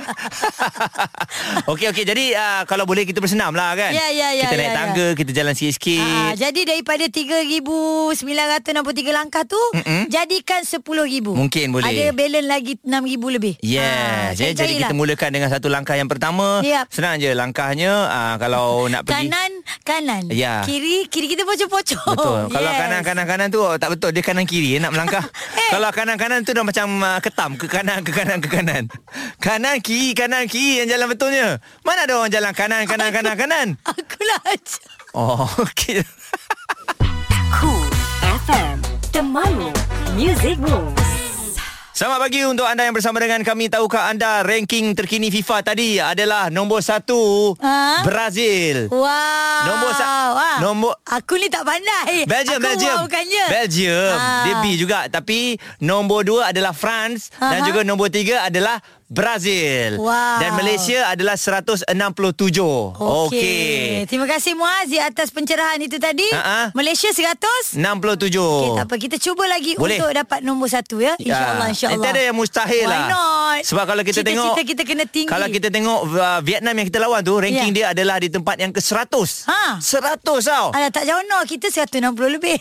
Speaker 3: Okey okey Jadi ah, kalau boleh kita bersenam lah kan
Speaker 2: Ya, ya, ya,
Speaker 3: Kita naik
Speaker 2: ya, ya.
Speaker 3: tangga Kita jalan sikit-sikit
Speaker 2: Ha, jadi daripada 3,963 langkah tu mm Jadikan 10,000
Speaker 3: Mungkin boleh.
Speaker 2: Ada balance lagi 6,000 lebih
Speaker 3: Yes,
Speaker 2: Ha,
Speaker 3: ya, jadi
Speaker 2: cari-carilah.
Speaker 3: kita mulakan dengan satu langkah yang pertama.
Speaker 2: Yap.
Speaker 3: Senang je langkahnya ah, kalau nak pergi
Speaker 2: Kanan Kanan
Speaker 3: Ya.
Speaker 2: Kiri Kiri kita pocong-pocong
Speaker 3: Betul.
Speaker 2: Oh, yes.
Speaker 3: Kalau kanan kanan kanan tu oh, tak betul dia kanan kiri eh, nak melangkah.
Speaker 2: Eh.
Speaker 3: Kalau kanan kanan tu dah macam uh, ketam ke kanan ke kanan ke kanan. Kanan kiri kanan kiri yang jalan betulnya. Mana ada orang jalan kanan kanan kanan kanan.
Speaker 2: Akulah ajar.
Speaker 3: Oh, okey.
Speaker 4: Cool FM, temanmu, music moves.
Speaker 3: Selamat pagi untuk anda yang bersama dengan kami. Tahukah anda ranking terkini FIFA tadi adalah nombor satu
Speaker 2: Ha?
Speaker 3: Brazil.
Speaker 2: Wow
Speaker 3: Nombor sa-
Speaker 2: Wah.
Speaker 3: nombor-
Speaker 2: Aku ni tak pandai
Speaker 3: Belgium,
Speaker 2: Aku
Speaker 3: Belgium.
Speaker 2: wow bukannya
Speaker 3: Belgium.
Speaker 2: Ah.
Speaker 3: Dia B juga. Tapi nombor dua adalah France. Uh-huh. Dan
Speaker 2: Aha.
Speaker 3: juga nombor tiga adalah Brazil.
Speaker 2: Wow.
Speaker 3: Dan Malaysia adalah 167.
Speaker 2: Okey. Terima kasih Muaz di atas pencerahan itu tadi.
Speaker 3: Ha-ha.
Speaker 2: Malaysia 100.
Speaker 3: 67.
Speaker 2: Okey, tak apa. Kita cuba lagi
Speaker 3: Boleh.
Speaker 2: untuk dapat nombor satu ya. InsyaAllah, insyaAllah.
Speaker 3: Nanti ada Ah, yang mustahil
Speaker 2: Why
Speaker 3: lah
Speaker 2: not?
Speaker 3: Sebab kalau kita
Speaker 2: Cita-cita
Speaker 3: tengok
Speaker 2: kita kena tinggi.
Speaker 3: Kalau kita tengok uh, Vietnam yang kita lawan tu Ranking
Speaker 2: Ya.
Speaker 3: yeah. dia adalah di tempat yang ke-100
Speaker 2: Ha. Ah,
Speaker 3: 100 tau
Speaker 2: Alah tak jauh no Kita 160 lebih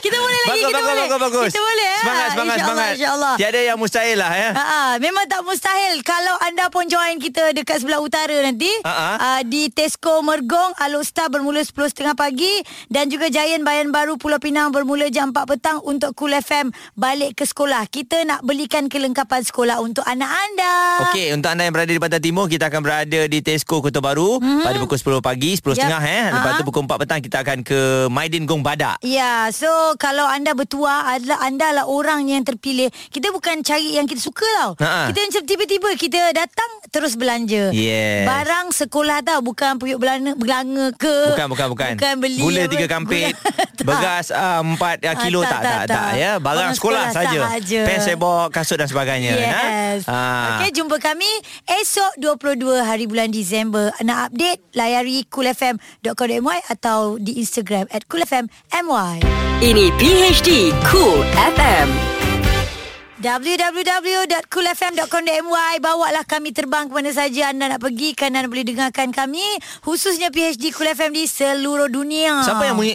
Speaker 2: Kita boleh lagi
Speaker 3: bagus,
Speaker 2: kita
Speaker 3: bagus,
Speaker 2: boleh
Speaker 3: bagus, bagus.
Speaker 2: Kita boleh ya.
Speaker 3: Semangat, semangat,
Speaker 2: InsyaAllah,
Speaker 3: semangat.
Speaker 2: InsyaAllah
Speaker 3: Tiada yang mustahil lah ya.
Speaker 2: Ha, memang tak mustahil kalau anda pun join kita dekat sebelah utara nanti
Speaker 3: Ha-ha.
Speaker 2: uh, di Tesco Mergong Alustar bermula 10.30 pagi dan juga Giant Bayan Baru Pulau Pinang bermula jam 4 petang untuk Cool FM balik ke sekolah. Kita nak belikan kelengkapan sekolah untuk anak anda.
Speaker 3: Okey, untuk anda yang berada di Pantai Timur, kita akan berada di Tesco Kota Baru mm-hmm. pada pukul 10 pagi, 10.30 yep.
Speaker 2: Yap.
Speaker 3: eh. Lepas
Speaker 2: Ha-ha.
Speaker 3: tu pukul 4 petang kita akan ke Maidin Gong Badak.
Speaker 2: Ya, so kalau anda bertuah adalah anda lah orang yang terpilih. Kita bukan cari yang kita suka tau.
Speaker 3: Ha-ha.
Speaker 2: Kita macam tiba-tiba kita datang terus
Speaker 3: Ya.
Speaker 2: belanja.
Speaker 3: Yes.
Speaker 2: Barang sekolah tau, bukan puyuk belanga, belanga ke.
Speaker 3: Bukan, bukan, bukan.
Speaker 2: Bukan beli.
Speaker 3: Gula
Speaker 2: apa-
Speaker 3: tiga kampit,
Speaker 2: Tak.
Speaker 3: beras ah, empat ah,
Speaker 2: Ah,
Speaker 3: kilo tak, tak, tak, ya. Barang sekolah, saja.
Speaker 2: sahaja.
Speaker 3: Pen sebok, kasut dan sebagainya.
Speaker 2: Yes.
Speaker 3: Ha? Ah.
Speaker 2: Okey, jumpa kami esok 22 hari bulan Disember. Nak update, layari coolfm.com.my atau di Instagram at coolfmmy.
Speaker 4: Ini PHD Cool FM.
Speaker 2: www.coolfm.com.my Bawalah kami terbang ke mana saja anda nak pergi Kerana anda boleh dengarkan kami Khususnya PhD Cool FM di seluruh dunia
Speaker 3: Siapa yang eh? bunyi?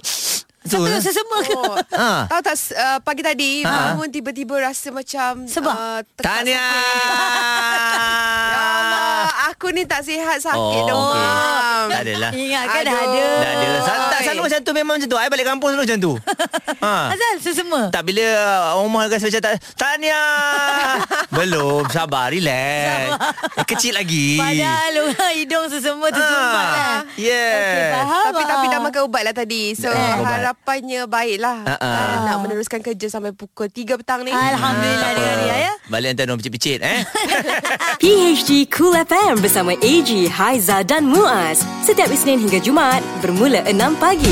Speaker 2: Satu
Speaker 3: Betul.
Speaker 2: sesama ke?
Speaker 1: Oh,
Speaker 3: Ah.
Speaker 1: Tahu tak s- uh, pagi tadi
Speaker 3: Ah.
Speaker 1: bangun tiba-tiba rasa macam
Speaker 2: Sebab?
Speaker 1: uh, tekak
Speaker 3: Tahniah.
Speaker 1: sakit. Ya Allah, aku ni tak sihat sakit
Speaker 3: Oh,
Speaker 1: oh, demam.
Speaker 3: okey. Oh, Tak adalah.
Speaker 2: Ingat kan
Speaker 1: Aduh.
Speaker 2: ada.
Speaker 3: Dah ada. Sa- Tak selalu macam tu memang macam tu. Saya balik kampung selalu macam tu. ha.
Speaker 1: Ah.
Speaker 2: Azal sesama.
Speaker 3: Tak bila uh, orang rumah rasa macam tak Tanya Belum Sabar Relax Eh, Kecil lagi
Speaker 2: Padahal orang hidung sesama tu sumbat lah.
Speaker 3: ah, Yeah
Speaker 2: Okey, faham.
Speaker 1: Eh, Tapi tapi dah
Speaker 2: ah.
Speaker 1: makan ubat lah tadi
Speaker 3: Dah
Speaker 1: So
Speaker 3: makan Eh, ubat.
Speaker 1: harapannya baiklah
Speaker 3: Ah, ah.
Speaker 1: uh, Nak meneruskan kerja sampai pukul 3 petang ni
Speaker 2: Alhamdulillah
Speaker 3: Tak
Speaker 2: dia
Speaker 3: apa.
Speaker 2: Ria ya.
Speaker 3: Balik hantar orang picit-picit eh
Speaker 4: PHD Cool FM bersama AG, Haiza dan Muaz. Setiap Isnin hingga Jumaat bermula 6 pagi.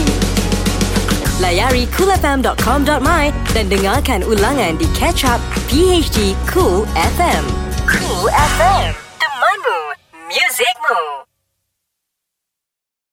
Speaker 4: Layari coolfm.com.my dan dengarkan ulangan di Catch Up PHD Cool FM.